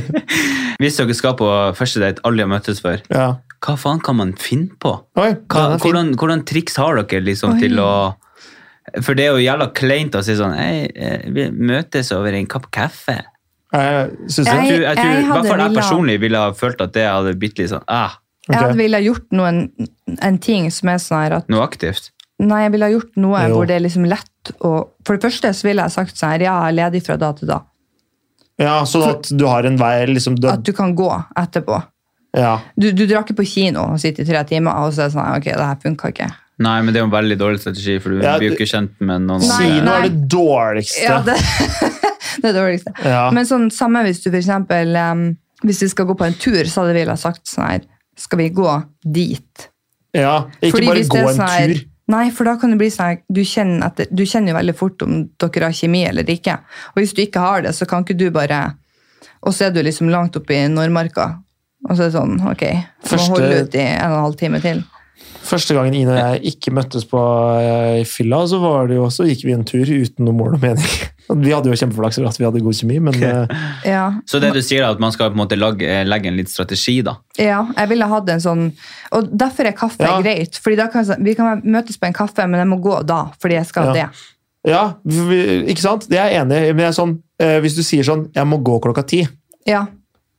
Hvis dere skal på første date, alle har møttes før, ja. hva faen kan man finne på? Hva, Oi, den er fin. hvordan, hvordan triks har dere liksom Oi. til å For det er jo jævla kleint å si sånn Hei, eh, vi møtes over en kopp kaffe. Jeg synes det. Jeg- Jeg tror, jeg tror, jeg I hvert fall hadde jeg villet- personlig ville ha følt at det hadde blitt litt sånn ah, Jeg hadde Ok. ville ha gjort noen, en ting som er sånn her at noe aktivt. Nei, jeg ville ha gjort noe Jo. hvor det er liksom lett å For det første så ville jeg sagt sånn her, ja, jeg er ledig fra da til da. Ja, sånn at du har en vei liksom, du, At du kan gå etterpå. ja. Du, du drar ikke på kino og sitter i tre timer, og så er det sånn her, ok, det her funka ikke. Nei, men det er jo en veldig dårlig strategi, for du Ja, blir jo du- ikke kjent med noen. Nei, Kino andre. nei. er det dårligste. Ja, <laughs> det, det er det dårligste. Ja. Men sånn samme hvis du for eksempel em, Hvis vi skal gå på en tur, så hadde jeg ville ha sagt sånn her Skal vi gå dit? Ja, Ikke Fordi bare hvis gå det er en sånn her- tur. Nei, for da kan det bli sånn her, du kjenner, etter, du kjenner jo veldig fort om dere har kjemi eller ikke. Og hvis du ikke har det, så kan ikke du bare Og så er du liksom langt oppe i Nordmarka. Og så er det sånn, ok, du må Første- holde ut i en og en halv time til. Første gangen Ine og jeg ikke møttes på eh, i fylla, så, var det jo, så gikk vi en tur uten noe mål og mening. <laughs> Vi hadde jo kjempeflaks over at vi hadde god kjemi, men eh, Ja, Så det du sier, er at man skal på en måte lage, legge en litt strategi, da. ja jeg ville hatt en sånn Og derfor er kaffe Ja. greit. fordi da kan jeg sånn- Vi kan møtes på en kaffe, men jeg må gå da, fordi jeg skal Ja. det. ja, vi, ikke sant? Det er jeg enig i. Men jeg er sånn, eh, hvis du sier sånn 'jeg må gå klokka ti', Ja,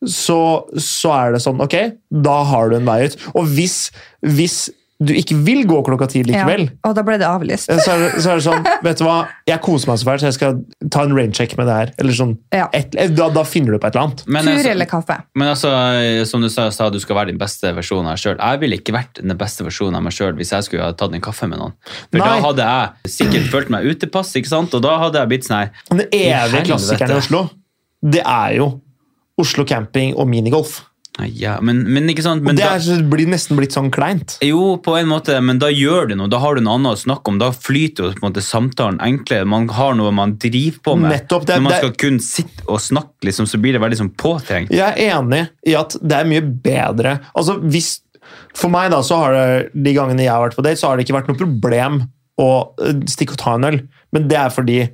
så, så er det sånn, ok, da har du en vei ut. Og hvis, hvis du ikke vil gå klokka ti ja. likevel, Og da ble det avlyst. så, er det, så er det sånn, vet du hva, jeg koser meg så fælt, så jeg skal ta en raincheck med det her. Eller sånn, Ja. et, da, da finner du på et eller annet. Men, Tur altså- eller kaffe. Men altså, som du sa, sa, du skal være din beste versjon av deg sjøl. Jeg ville ikke vært den beste versjonen av meg sjøl hvis jeg skulle ha tatt en kaffe med noen. For Nei. da hadde jeg sikkert følt meg utepass, ikke sant? og da hadde jeg blitt sånn her. Men den evige helvete. klassikeren i Oslo, det er jo Oslo camping og minigolf. «Nei, Ja, men, men ikke sant? Og Men det da, er, så- blir nesten blitt sånn kleint. jo, på en måte, men da gjør du noe. Da har du noe annet å snakke om. Da flyter jo på en måte samtalen enklere. Man har noe man driver på med. Nettopp, det er- Når man det er- skal kun sitte og snakke, liksom, så blir det veldig sånn påtrengt. Jeg er enig i at det er mye bedre Altså hvis For meg, da, så har det de gangene jeg har vært på date, så har det ikke vært noe problem og eh, stikke og ta en øl. Men det er fordi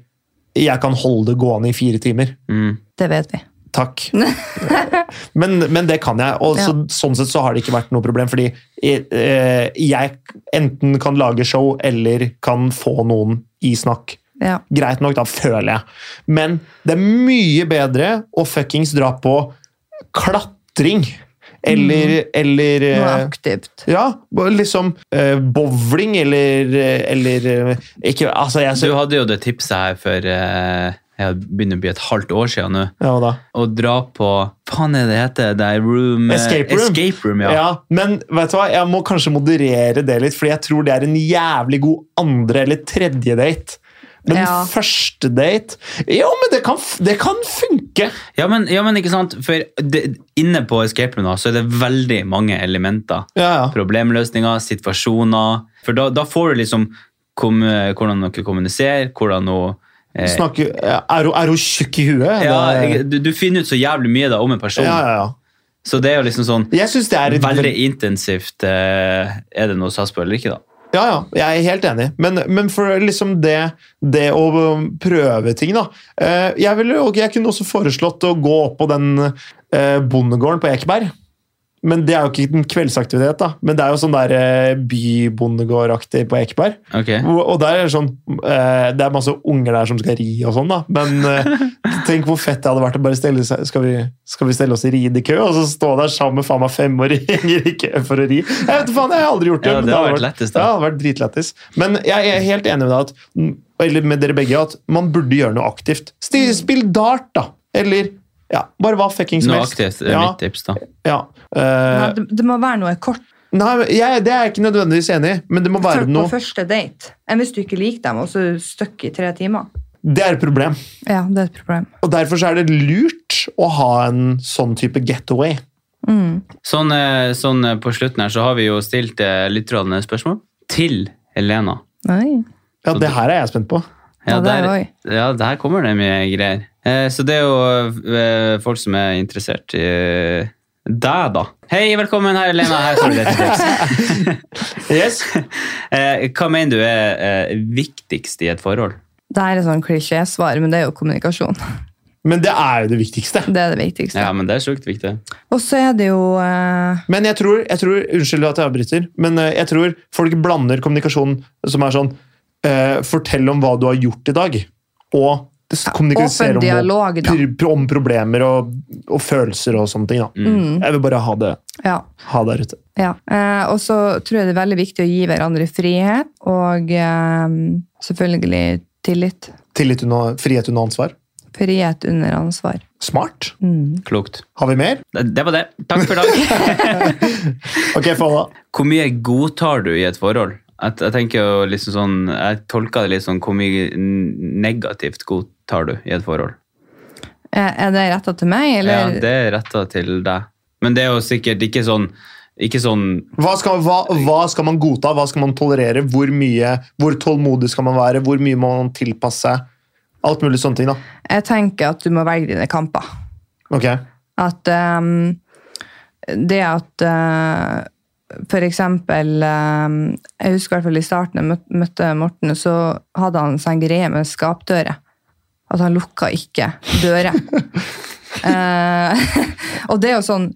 jeg kan holde det gående i fire timer. Mm. Det vet vi. Takk. men, men det kan jeg, og så, sånn sett så har det ikke vært noe problem, fordi jeg, eh, jeg enten kan lage show eller kan få noen i snakk. Ja. Greit nok, da føler jeg. Men det er mye bedre å fuckings dra på klatring eller, eller Mm. Noe eh, aktivt. ja, liksom eh, bowling eller, eller eh, ikke, Altså, jeg Du ser hadde jo det tipset her for eh, jeg begynner å bli et halvt år siden nå. Ja, hva da. Å dra på Hva faen er det det heter? Det er room eh, Escape room. Escape room, Ja. ja. Men vet du hva, jeg må kanskje moderere det litt, fordi jeg tror det er en jævlig god andre- eller tredje date. Men Ja. første date Jo, men det kan, f- det kan funke! Ja, men, ja, men ikke sant? For det, inne på Escape room da, så er det veldig mange elementer. Ja, ja. Problemløsninger, situasjoner. For da, da får du liksom kom, hvordan dere kommuniserer, hvordan hun eh, Snakke, er, hun, er hun tjukk i huet? ja, Det- jeg- du, du finner ut så jævlig mye da, om en person. ja, ja, ja. Så det er jo liksom sånn Jeg syns det er et veldig intensivt. eh, Er det noe SAS på eller ikke, da? Ja, ja, jeg er helt enig. Men, men for liksom det, det å prøve ting, da. Eh, Jeg, ville, og jeg kunne også foreslått å gå opp på den eh, bondegården på Ekeberg. Men det er jo ikke en kveldsaktivitet, da. Men det er jo sånn der eh, bybondegårdaktig på Ekeberg. Ok. Og og der er det sånn eh, Det er masse unger der som skal ri og sånn, da. Men <laughs> eh, tenk hvor fett det hadde vært å bare stelle seg Skal vi, skal vi stelle oss i ridekø, og så stå der sammen med faen meg femåringer i <laughs> kø for å ri? Jeg vet faen, jeg har aldri gjort det. Ja, men det hadde vært vært- lettest, Ja, da. det hadde vært dritlættis. Men jeg er helt enig med deg at, mm, eller med dere begge at man burde gjøre noe aktivt. Sti- Spill dart, da! Eller ja, bare hva fucking som Noe helst. aktivt er ja, mitt tips, da. ja. Eh, Nei, det, det må være noe kort. nei, jeg, det er jeg ikke nødvendigvis enig i, men det må være Først på noe første date. Enn hvis du ikke liker dem, og så er du stuck i tre timer. Det er et problem. Ja, det er et problem. Og derfor så er det lurt å ha en sånn type getaway. Sånn, eh, sånn eh, på slutten her så har vi jo stilt eh, lytterne spørsmål til Helena. Nei. Ja, det her er jeg spent på. Ja, det er der, oi. ja, der kommer det mye greier. Eh, Så det er jo eh, folk som er interessert i eh, deg, da. Hei, velkommen her, Helena. Her står <laughs> det et tips. Yes. <laughs> Eh, Hva mener du er eh, viktigst i et forhold? Det her er sånn klisjésvar, men det er jo kommunikasjon. <laughs> Men det er jo det viktigste. Det er det viktigste. Ja, men det er sjukt viktig. Og så er det jo eh, Men jeg tror, jeg tror Unnskyld at jeg avbryter, men eh, jeg tror folk blander kommunikasjon som er sånn eh, Fortell om hva du har gjort i dag, og s- kommunisere åpen om, dialog, da. pr- pr- om problemer og, og følelser og sånne ting. Da. Mm. Mm. Jeg vil bare ha det, Ja. ha det der ute. ja. Eh, og så tror jeg det er veldig viktig å gi hverandre frihet, og eh, selvfølgelig tillit. Tillit under, frihet under ansvar. Frihet under ansvar. Smart. Mm. Klokt. Har vi mer? Det det var det. Takk for i dag. Ok, Falla. Hvor mye godtar du i et forhold? At, jeg tenker jo liksom sånn, jeg tolker det litt sånn hvor mye n- negativt godtar du i et forhold? Eh, er det retta til meg, Ja, eller? det er retta til deg. Men det er jo sikkert ikke sånn, ikke sånn Hva skal, hva, hva skal man godta, hva skal man tolerere, hvor mye, hvor tålmodig skal man være, hvor mye må man tilpasse seg? Alt mulig sånne ting, da. Jeg tenker at du må velge dine kamper. Ok. At ehm, det at eh, for eksempel ehm, Jeg husker i hvert fall i starten jeg møt- møtte Morten, så hadde han sånn greie med skapdører. At han lukka ikke <laughs> dører. Eh, <laughs> og det er jo sånn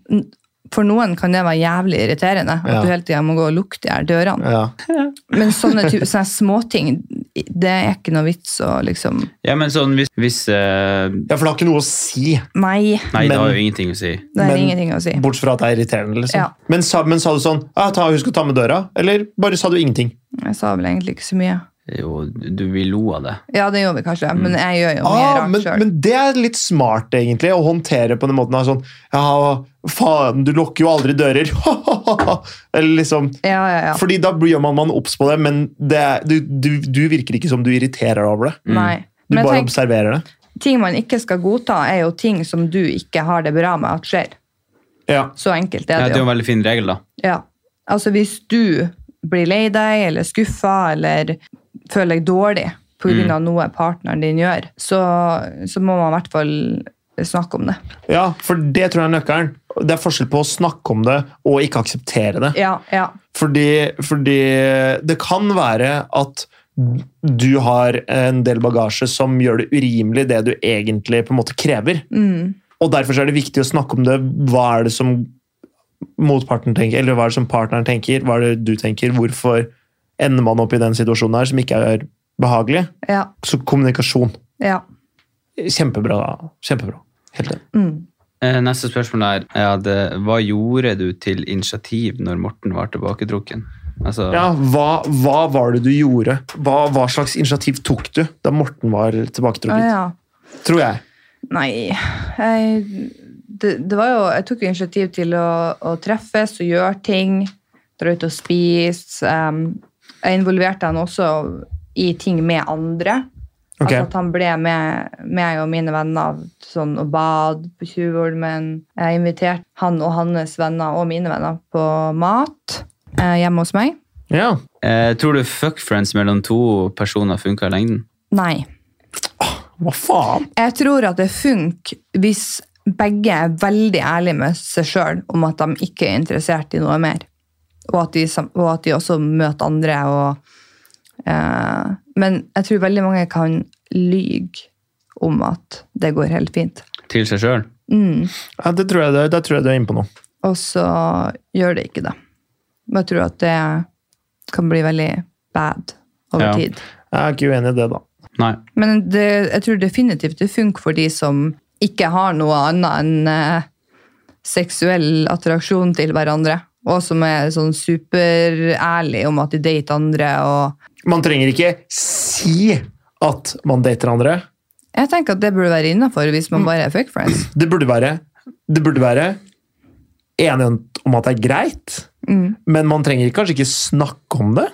For noen kan det være jævlig irriterende at Ja. du hele tida må gå og lukke de her dørene. Ja. Men sånne, type, sånne småting, det er ikke noe vits å liksom Ja, men sånn hvis, hvis eh, ja, for det har ikke noe å si, Nei, Nei, Men- det har jo ingenting å si. det er Men- ingenting å si. bortsett fra at det er irriterende. liksom. Ja. Men, sa, men sa du sånn ah, ta, 'Husk å ta med døra', eller bare sa du ingenting? Jeg sa vel egentlig ikke så mye. Jo, du vi lo av det. Ja, det gjør vi kanskje, men jeg gjør jo mye Mm. Ah, rart men, selv. men det er litt smart, egentlig, å håndtere på den måten. Her, sånn, ja, faen, du lukker jo aldri dører. <laughs> eller liksom Ja, ja, ja. Fordi da blir man, man obs på det, men det, er- du, du, du virker ikke som du irriterer deg over det. Nei. Mm. Du Men bare jeg tenker, observerer det. ting man ikke skal godta, er jo ting som du ikke har det bra med at skjer. Ja. Så enkelt Ja, er det det er jo jo. en veldig fin regel, da. Ja. Altså, hvis du blir lei deg, eller skuffa, eller føler deg dårlig på Mm. grunn av noe partneren din gjør, så, så må man i hvert fall snakke om det. ja, for det tror jeg er nøkkelen. Det er forskjell på å snakke om det og ikke akseptere det. Ja, ja. Fordi, fordi det kan være at du har en del bagasje som gjør det urimelig det du egentlig på en måte krever. Mm. Og derfor så er det viktig å snakke om det. Hva er det som motparten tenker, eller hva er det som partneren tenker, hva er det du tenker, hvorfor ender man opp i den situasjonen her som ikke er behagelig? Ja. Så kommunikasjon. Ja. Kjempebra. da. Kjempebra. Helt enig. Mm. Eh, Neste spørsmål er, er det, hva gjorde du til initiativ når Morten var tilbaketrukken? Altså, Ja, hva, hva var det du gjorde? Hva, hva slags initiativ tok du da Morten var Ah, tilbaketrukket? ja. Tror jeg. Nei jeg, det, det var jo, Jeg tok jo initiativ til å, å treffes og gjøre ting. Dra ut og spise. em, jeg involverte han også i ting med andre. Ok. Altså at han ble med meg og mine venner sånn, og bad på Tjuvholmen. Jeg inviterte han og hans venner og mine venner på mat eh, hjemme hos meg. Ja. eh, tror du fuck friends mellom to personer funker i lengden? Nei. Hva faen? Jeg tror at det funker hvis begge er veldig ærlige med seg sjøl om at de ikke er interessert i noe mer. Og at de, sam- og at de også møter andre og eh, Men jeg tror veldig mange kan lyge om at det går helt fint. Til seg selv? Mm. Ja, det tror jeg, det, der tror jeg du er inne på noe. Og så gjør det ikke det. Men jeg tror at det kan bli veldig bad over Ja. tid. Jeg er ikke uenig i det, da. Nei. Men det, jeg tror definitivt det funker for de som ikke har noe annet enn eh, seksuell attraksjon til hverandre. Og som er sånn superærlig om at de dater andre. Og Man trenger ikke si at man dater andre. jeg tenker at det burde være innafor hvis Mm. man bare er fuck friends. Det burde være, det burde være enighet om at det er greit, Mm. men man trenger kanskje ikke snakke om det.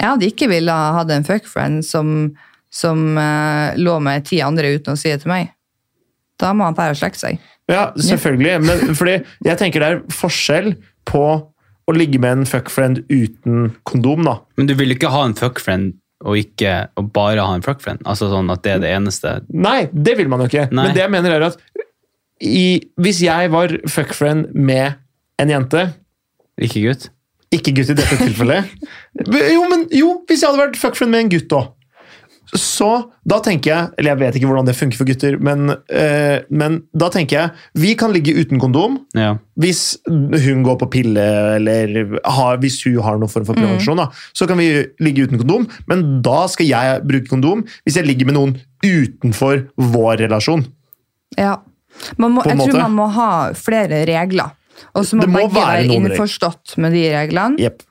Jeg hadde ikke villet ha hatt en fuck friend som, som eh, lå med ti andre uten å si det til meg. Da må han fære og slekke seg. Ja, selvfølgelig, men fordi jeg tenker det er forskjell på å ligge med en fuckfriend uten kondom, da. Men du vil ikke ha en fuck friend og ikke og bare ha en fuck friend? Altså sånn at det er det eneste Nei, det vil man jo ikke. Nei. Men det jeg mener er at i, hvis jeg var fuckfriend med en jente, Ikke gutt? Ikke gutt i dette tilfellet. <laughs> jo, men jo, hvis jeg hadde vært fuckfriend med en gutt òg. Så da tenker jeg Eller jeg vet ikke hvordan det funker for gutter, men, eh, men da tenker jeg Vi kan ligge uten kondom Ja. hvis hun går på pille, eller har, hvis hun har noen form for prevensjon. Da, så kan vi ligge uten kondom, men da skal jeg bruke kondom hvis jeg ligger med noen utenfor vår relasjon. Ja. Man må, På en jeg tror måte. man må ha flere regler. Og så må, Det må begge være være, noen regler. innforstått med de reglene. Jepp.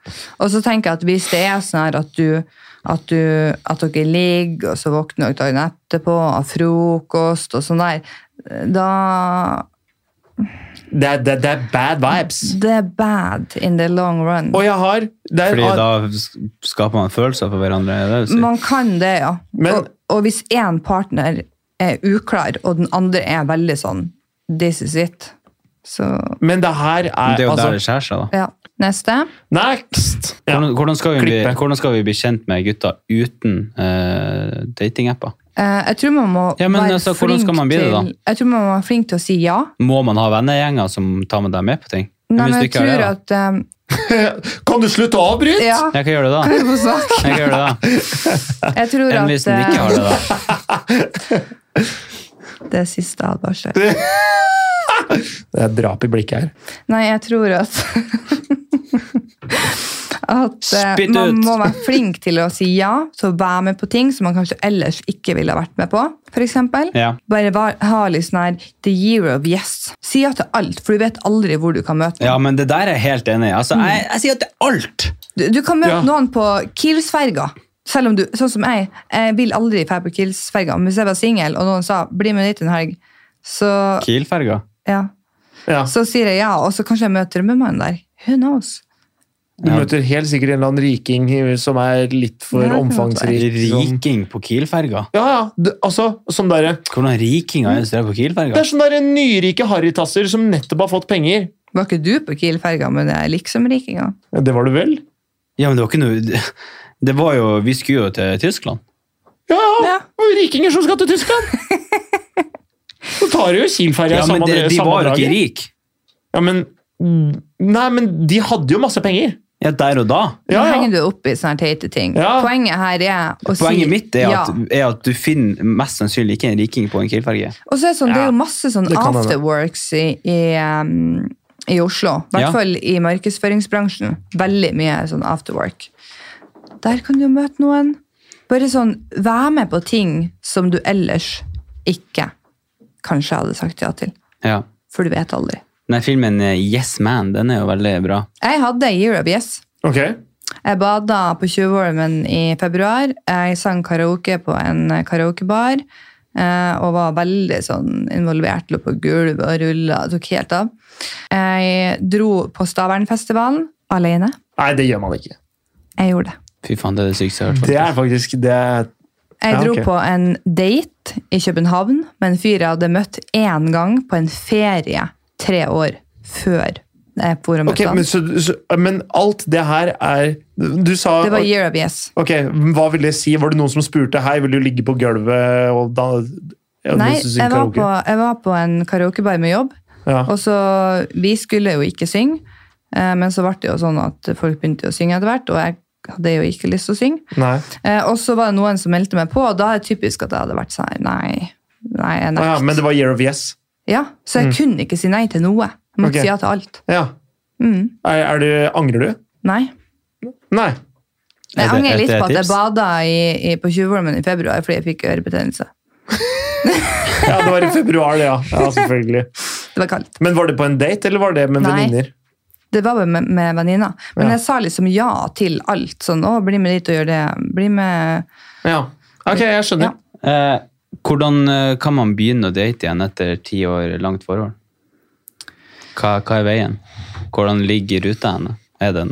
Og så tenker jeg at hvis det er sånn her at du at, du, at dere ligger, og så våkner dere dagen etterpå av frokost og sånn der, da Det, er- det, det er bad vibes. Det er bad in the long run. Og jeg har det er, ah, Fordi da s- skaper man følelser for hverandre? Er det det du sier? Man kan det, ja. Men- og, og hvis én partner er uklar, og den andre er veldig sånn This is it. Så Men det her er, Men det er jo altså, der det skjærer seg, da. ja. Neste. Next! Ja. <laughs> Hvordan, hvordan, skal vi bli, Klippe. hvordan skal vi bli kjent med gutter uten eh, datingapper? Eh, jeg tror man må Ja, men være altså, hvordan flink skal man bli det, da? til Jeg tror man må være flink til å si ja. Må man ha vennegjenger som tar med deg med på ting? Nei, Hvis men du jeg ikke har tror det, at um, Kan du slutte å avbryte? Ja, <laughs> da? Jeg kan gjøre det da. jeg får snakke. Jeg kan gjøre det da. <laughs> Jeg tror Enn at hvis den ikke har det, da. eh, Det er siste advarsel. Det er drap i blikket her. Nei, jeg tror at <laughs> At eh, Spytt man ut. må være flink til å si ja til å være med på ting som man kanskje ellers ikke ville ha vært med på. For eksempel. Ja. Bare var, ha litt sånn her the year of yes. Si ja til alt, for du vet aldri hvor du kan møte noen. ja, men det der er jeg helt enig i. Altså, jeg, jeg sier at det er alt! Du, du kan møte Ja. noen på Kielsferga. Selv om du, sånn som jeg, jeg vil aldri dra på Kielsferga. Men hvis jeg var singel, og noen sa 'bli med dit en helg', så, Kielferga. ja. Ja. så sier jeg ja, og så kanskje jeg møter drømmemannen der. Who knows? Du møter helt sikkert en eller annen riking som er litt for Ja, det kan omfangsrik. Som, Riking på Kielferga? ja, ja. Det, altså, som derre Hvordan rikinger er det som er på Det Kielferga? er sånne der nyrike harrytasser som nettopp har fått penger. Var ikke du på Kielferga, men jeg er liksom rikinga. Ja, Det var du vel? Ja, men det var ikke noe Det var jo Vi skulle jo til Tyskland. Ja, ja! Ja. Og rikinger som skal til <laughs> Tyskland! Så tar du jo Ja, Kiel-ferja men samme, det, de samme var jo ikke draget. rike. Ja, men, nei, men de hadde jo masse penger. Ja, der og da. Ja, Nå ja. henger du opp i sånne teite ting. Ja. Poenget her er å si Poenget mitt er at, ja. er at du finner mest sannsynlig ikke en riking på en Kiel-ferge. Og så er det sånn, det er jo masse sånn det kan hende. afterworks i, i, um, i Oslo. I hvert Ja. fall i markedsføringsbransjen. Veldig mye sånn afterwork. Der kan du jo møte noen. Bare sånn, vær med på ting som du ellers ikke kanskje hadde sagt ja til. Ja. For du vet aldri. Den filmen eh, Yes Man den er jo veldig bra. Jeg hadde Year of Yes. Ok. Jeg bada på Tjuvholmen i februar. Jeg sang karaoke på en karaokebar. eh, Og var veldig sånn involvert. Lå på gulvet og rulla. Tok helt av. Jeg dro på Stavernfestivalen alene. Nei, det gjør man ikke. Jeg gjorde det. Fy faen, det er det sykeste jeg har hørt. Det er faktisk det er- Jeg Ja, dro ok. på en date i København med en fyr jeg hadde møtt én gang på en ferie tre år før jeg dro og Ok, møtte men, han. så, så, men alt det her er Du sa Det var Year of Yes. Ok, hva vil det si? Var det noen som spurte hei, vil du ligge på gulvet og da ja, Nei, du synes jeg var karaoke. på, jeg var på en karaokebar med jobb. ja. Og så, Vi skulle jo ikke synge, eh, men så ble det jo sånn at folk begynte å synge etter hvert. Og jeg hadde jo ikke lyst til å synge. Nei. Eh, Og så var det noen som meldte meg på, og da er det typisk at jeg hadde vært sånn her, nei, nei, jeg Å ja, nekter. men det var year of yes. Ja, så jeg kunne ikke si nei til noe. Jeg måtte Ok. si ja til alt. Ja. Mm. Er, er du, angrer du? Nei. Nei. Er Jeg det- er angrer litt det på at jeg tips? bada i, i, på Tjuvholmen i februar fordi jeg fikk ørebetennelse. Ja, det var i februar, det, ja. ja. Selvfølgelig. Det var kaldt. Men var det på en date, eller var det med Nei. venninner? Det var bare med, med venninna. Men Ja. jeg sa liksom ja til alt. Sånn, å, bli med dit og gjør det. Bli med Ja. Ok, jeg skjønner. Ja. Eh, hvordan eh, kan man begynne å date igjen etter ti år langt forhold? Hva, hva er veien? Hvordan ligger ruta henne? Er den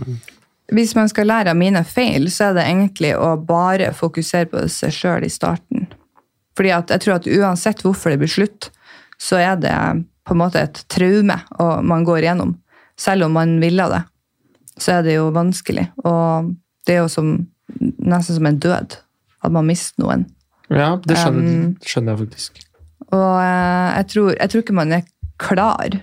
Hvis man skal lære av mine feil, så er det egentlig å bare fokusere på seg sjøl i starten. Fordi at jeg tror at uansett hvorfor det blir slutt, så er det på en måte et traume og man går igjennom. Selv om man ville det, så er det jo vanskelig. Og det er jo som, nesten som en død, at man mister noen. Ja, det skjønner, skjønner jeg faktisk. Og eh, jeg tror, jeg tror ikke man er klar.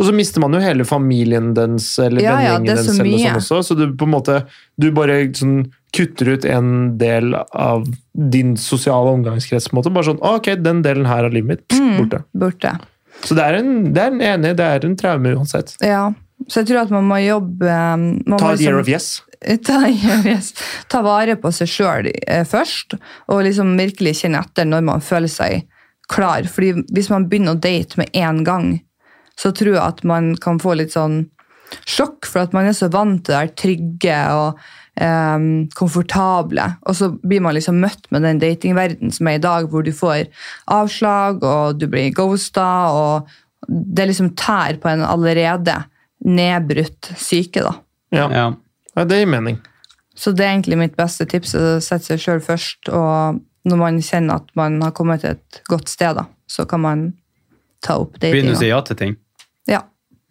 Og så mister man jo hele familien dens, eller Ja, ja, vennegjengen det er dens, så eller noe mye. sånt også. Så du på en måte, du bare sånn kutter ut en del av din sosiale omgangskrets, på en måte. Bare sånn, «Å, ok, den delen her av livet mitt, pst, Mm. borte. Borte. Så det er en, det er en enig, det er en traume uansett. Ja. Så jeg tror at man må jobbe eh, man må Ta et year liksom- of yes. <laughs> Ta, yes. ta vare på seg sjøl først, og liksom virkelig kjenne etter når man føler seg klar. Fordi hvis man begynner å date med én gang, så tror jeg at man kan få litt sånn sjokk, for at man er så vant til det der trygge og em, komfortable. Og så blir man liksom møtt med den datingverdenen som er i dag, hvor du får avslag, og du blir ghosta, og det liksom tær på en allerede nedbrutt psyke, da. Ja. Ja. ja, det gir mening. Så det er egentlig mitt beste tips, å sette seg sjøl først. Og når man kjenner at man har kommet til et godt sted, da, så kan man ta opp Begynne å datinga. si ja til ting. Ja.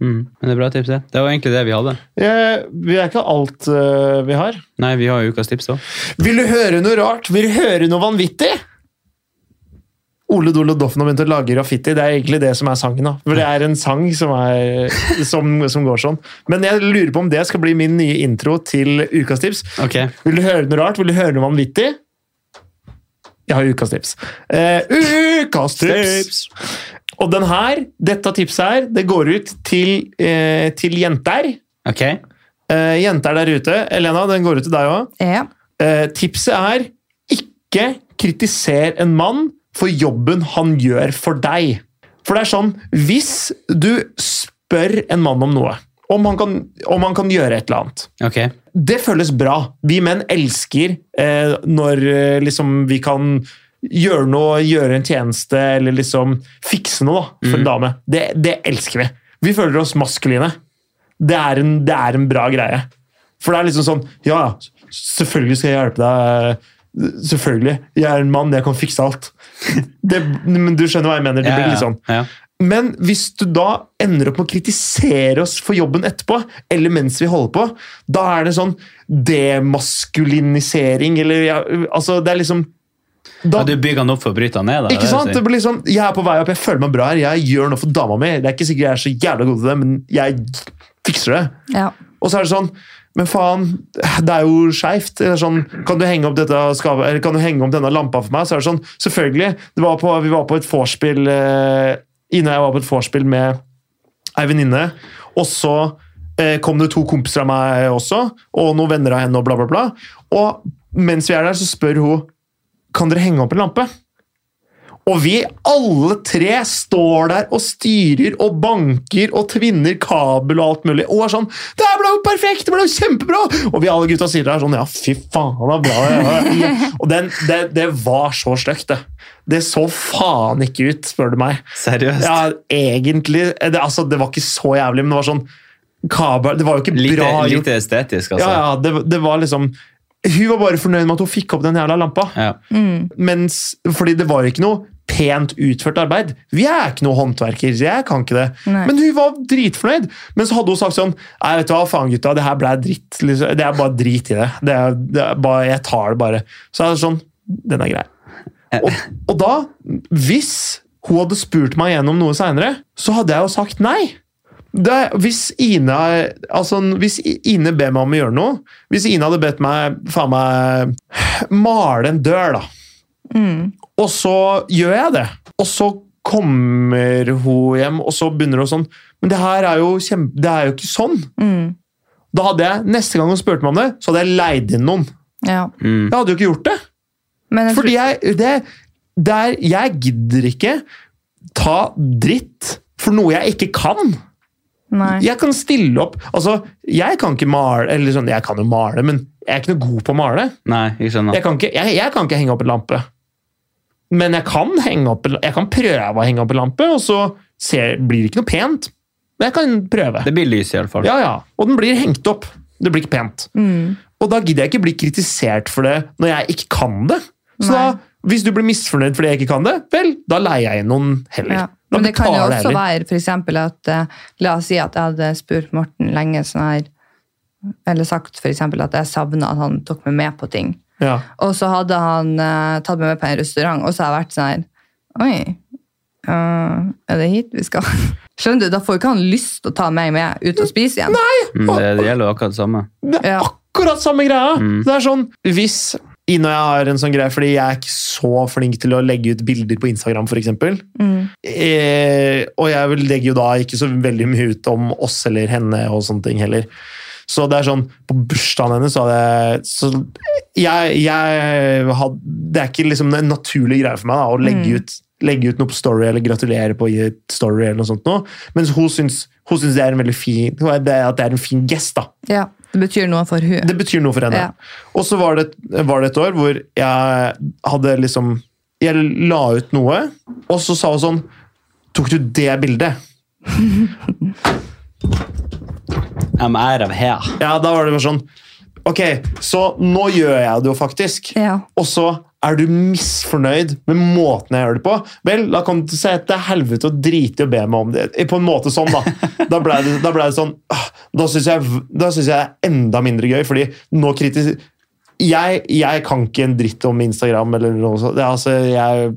Mm. Men det er bra tips, det. Det var egentlig det vi hadde. Eh, vi er ikke alt eh, vi har. Nei, vi har jo ukas tips òg. Vil du høre noe rart? Vil du høre noe vanvittig? Ole Dolo Doffen har begynt å lage graffiti. Det er egentlig det som er sangen. da. For Det er en sang som, er, som, som går sånn. Men jeg lurer på om det skal bli min nye intro til ukas tips. Ok. Vil du høre noe rart? Vil du høre noe vanvittig? Jeg har ukas tips. Eh, ukas tips! Og den her, dette tipset her, det går ut til, eh, til jenter. Ok. Eh, jenter der ute. Elena, den går ut til deg òg. ja. Eh, tipset er ikke kritiser en mann for jobben han gjør for deg. For det er sånn, hvis du spør en mann om noe, om han kan, om han kan gjøre et eller annet, Ok. det føles bra. Vi menn elsker eh, når eh, liksom, vi kan gjøre noe, gjøre en tjeneste, eller liksom fikse noe da, for Mm. en dame. Det, det elsker vi. Vi føler oss maskuline. Det er, en, det er en bra greie. For det er liksom sånn Ja, ja, selvfølgelig skal jeg hjelpe deg. Selvfølgelig. Jeg er en mann, jeg kan fikse alt. Det, men du skjønner hva jeg mener. Det blir litt sånn. Ja. Men hvis du da ender opp med å kritisere oss for jobben etterpå, eller mens vi holder på, da er det sånn demaskulinisering, eller ja, Altså, det er liksom da, Ja, du bygger han opp for å bryte han ned? Da, Ikke det sant? vil Det si. blir liksom, jeg er på vei opp, jeg føler meg bra her, jeg gjør noe for dama mi. Det er ikke sikkert jeg er så jævla god til det, men jeg fikser det. ja. Og så er det sånn Men faen, det er jo skeivt. Sånn, kan, du henge opp dette skapet- eller kan du henge opp denne lampa for meg? Så er det sånn, selvfølgelig. Det var på, vi var på et vorspiel eh, Ine og jeg var på et vorspiel med ei venninne, og så eh, kom det to kompiser av meg også, og noen venner av henne, og bla, bla, bla. Og mens vi er der, så spør hun kan dere henge opp en lampe. Og vi alle tre står der og styrer og banker og tvinner kabel og alt mulig. Og er sånn Det her ble jo perfekt! Det ble jo kjempebra! Og vi alle gutta sier der sånn Ja, fy faen, det var bra. det var». Og den, det, det var så stygt, det. Det så faen ikke ut, spør du meg. Seriøst. Ja, egentlig det, altså, det var ikke så jævlig, men det var sånn kabel, Det var jo ikke Lite, e- bra gjort. lite estetisk, Ja, altså. ja, det, det var liksom Hun var bare fornøyd med at hun fikk opp den jævla lampa. Ja. Mens, fordi det var ikke noe pent utført arbeid. Vi er ikke noe håndverker, jeg kan ikke det. Nei. Men hun var dritfornøyd. Men så hadde hun sagt sånn Nei, vet du hva, faen gutta, det her ble dritt. Liksom. Det er bare drit i det. det, er, det er bare, jeg tar det bare. Så er det sånn Den er grei. Og, og da, hvis hun hadde spurt meg gjennom noe seinere, så hadde jeg jo sagt nei. Det, er- hvis, Ine, er- altså, hvis I- Ine ber meg om å gjøre noe Hvis Ine hadde bedt meg faen meg male en dør, da. Mm. Og så gjør jeg det. Og så kommer hun hjem, og så begynner hun sånn Men det her er jo, kjempe, det er jo ikke sånn. Mm. Da hadde jeg, Neste gang hun spurte meg om det, så hadde jeg leid inn noen. Ja. Mm, Jeg hadde jo ikke gjort det. Men jeg Fordi jeg, det, det er, jeg gidder ikke ta dritt for noe jeg ikke kan. tror Nei. Jeg kan stille opp Altså, jeg kan ikke male Eller sånn, jeg kan jo male, men jeg er ikke noe god på å male. Nei, jeg skjønner. Jeg kan ikke, jeg, jeg kan ikke henge opp en lampe. Men jeg kan, henge opp, en- jeg kan prøve å henge opp en lampe, og så ser, blir det ikke noe pent. Men jeg kan prøve. Det blir lys, iallfall. Ja, ja. Og den blir hengt opp. Det blir ikke pent. Mm. Og da gidder jeg ikke bli kritisert for det når jeg ikke kan det. Så Nei. da, hvis du blir misfornøyd fordi jeg ikke kan det, vel, da leier jeg inn noen heller. Ja. Da Men det kan jo betaler jeg også heller. være for eksempel at eh, La oss si at jeg hadde spurt Morten lenge sånn her Eller sagt for eksempel at jeg savna at han tok meg med på ting. Ja. Og så hadde han eh, tatt meg med på en restaurant, og så har jeg vært sånn her Oi, eh, er det hit vi skal? <laughs> Skjønner du, Da får jo ikke han lyst til å ta meg med ut og spise igjen. Nei. Mm, det, det gjelder jo akkurat det samme. Det er Ja. akkurat samme greia! Mm. Det er sånn, hvis Ine og jeg har en sånn greie, fordi jeg er ikke så flink til å legge ut bilder på Instagram, for eksempel. Mm. Eh, og jeg vil- legger jo da ikke så veldig mye ut om oss eller henne og sånne ting heller. Så det er sånn, på bursdagen hennes så hadde jeg så jeg, jeg had, Det er ikke liksom en naturlig greie for meg da, å legge, ut, legge ut noe på Story eller gratulere på i et Story. eller noe sånt nå. Mens hun syns, hun syns det er en veldig fin, det er- at det er en fin gest. da. Ja, Det betyr noe for hun. Det betyr noe for henne. Ja. Og så var det, var det et år hvor jeg hadde liksom Jeg la ut noe, og så sa hun sånn Tok du det bildet? I'm out of here. Ja, da var det bare sånn Ok, så nå gjør jeg det jo faktisk. Ja. Og så er du misfornøyd med måten jeg gjør det på. Vel, da kan du si til helvete og drite i å be meg om det. På en måte sånn, da. Da ble det, da ble det sånn «Åh, Da syns jeg, da synes jeg det er enda mindre gøy, fordi nå kritis... Jeg, jeg kan ikke en dritt om Instagram eller noe sånt. Det er Altså, jeg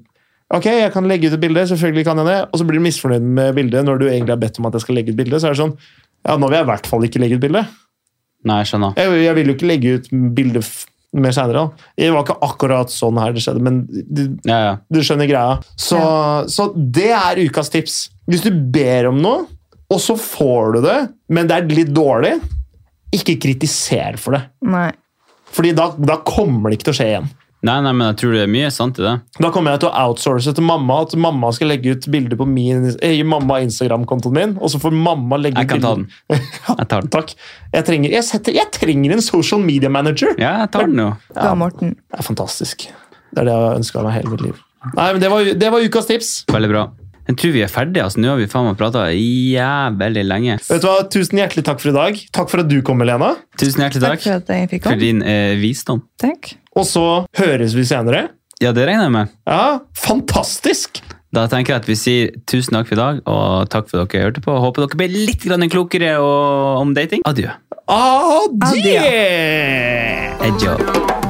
Ok, jeg kan legge ut et bilde, selvfølgelig kan jeg det. Og så blir du misfornøyd med bildet når du egentlig har bedt om at jeg skal legge ut bilde. Så er det sånn Ja, nå vil jeg i hvert fall ikke legge ut bilde. Nei, jeg skjønner. Jeg, jeg vil jo ikke legge ut bilder f- mer seinere. Det var ikke akkurat sånn her det skjedde, men du, Ja, ja. du skjønner greia. Så, så det er ukas tips. Hvis du ber om noe, og så får du det, men det er litt dårlig, ikke kritiser for det. Nei. Fordi da, da kommer det ikke til å skje igjen. Nei, nei, men jeg tror det er mye sant i det. Da kommer jeg til å outsource til mamma at mamma skal legge ut bilder på min, eh, mamma Instagram-kontoen min, og så får mamma legge ut Jeg kan ta den. <laughs> Jeg tar den. Takk. Jeg trenger, jeg, setter, jeg trenger en social media manager. Ja, jeg tar den jo. Det var Morten. Det er fantastisk. Det er det jeg har ønska meg hele mitt liv. Nei, men det var, det var ukas tips. Veldig bra. Jeg tror vi er ferdige. altså. Nå har vi faen meg prata jævlig lenge. Vet du hva, Tusen hjertelig takk for i dag. Takk for at du kom, Helena. Tusen hjertelig Takk takk for at jeg fikk for komme. din eh, visdom. Takk. Og så høres vi senere. Ja, det regner jeg med. Ja, fantastisk! Da tenker jeg at vi sier tusen takk for i dag, og takk for dere hørte på. Håper dere ble litt grann klokere og, om dating. Adjø. Adjø! Adjø. Adjø.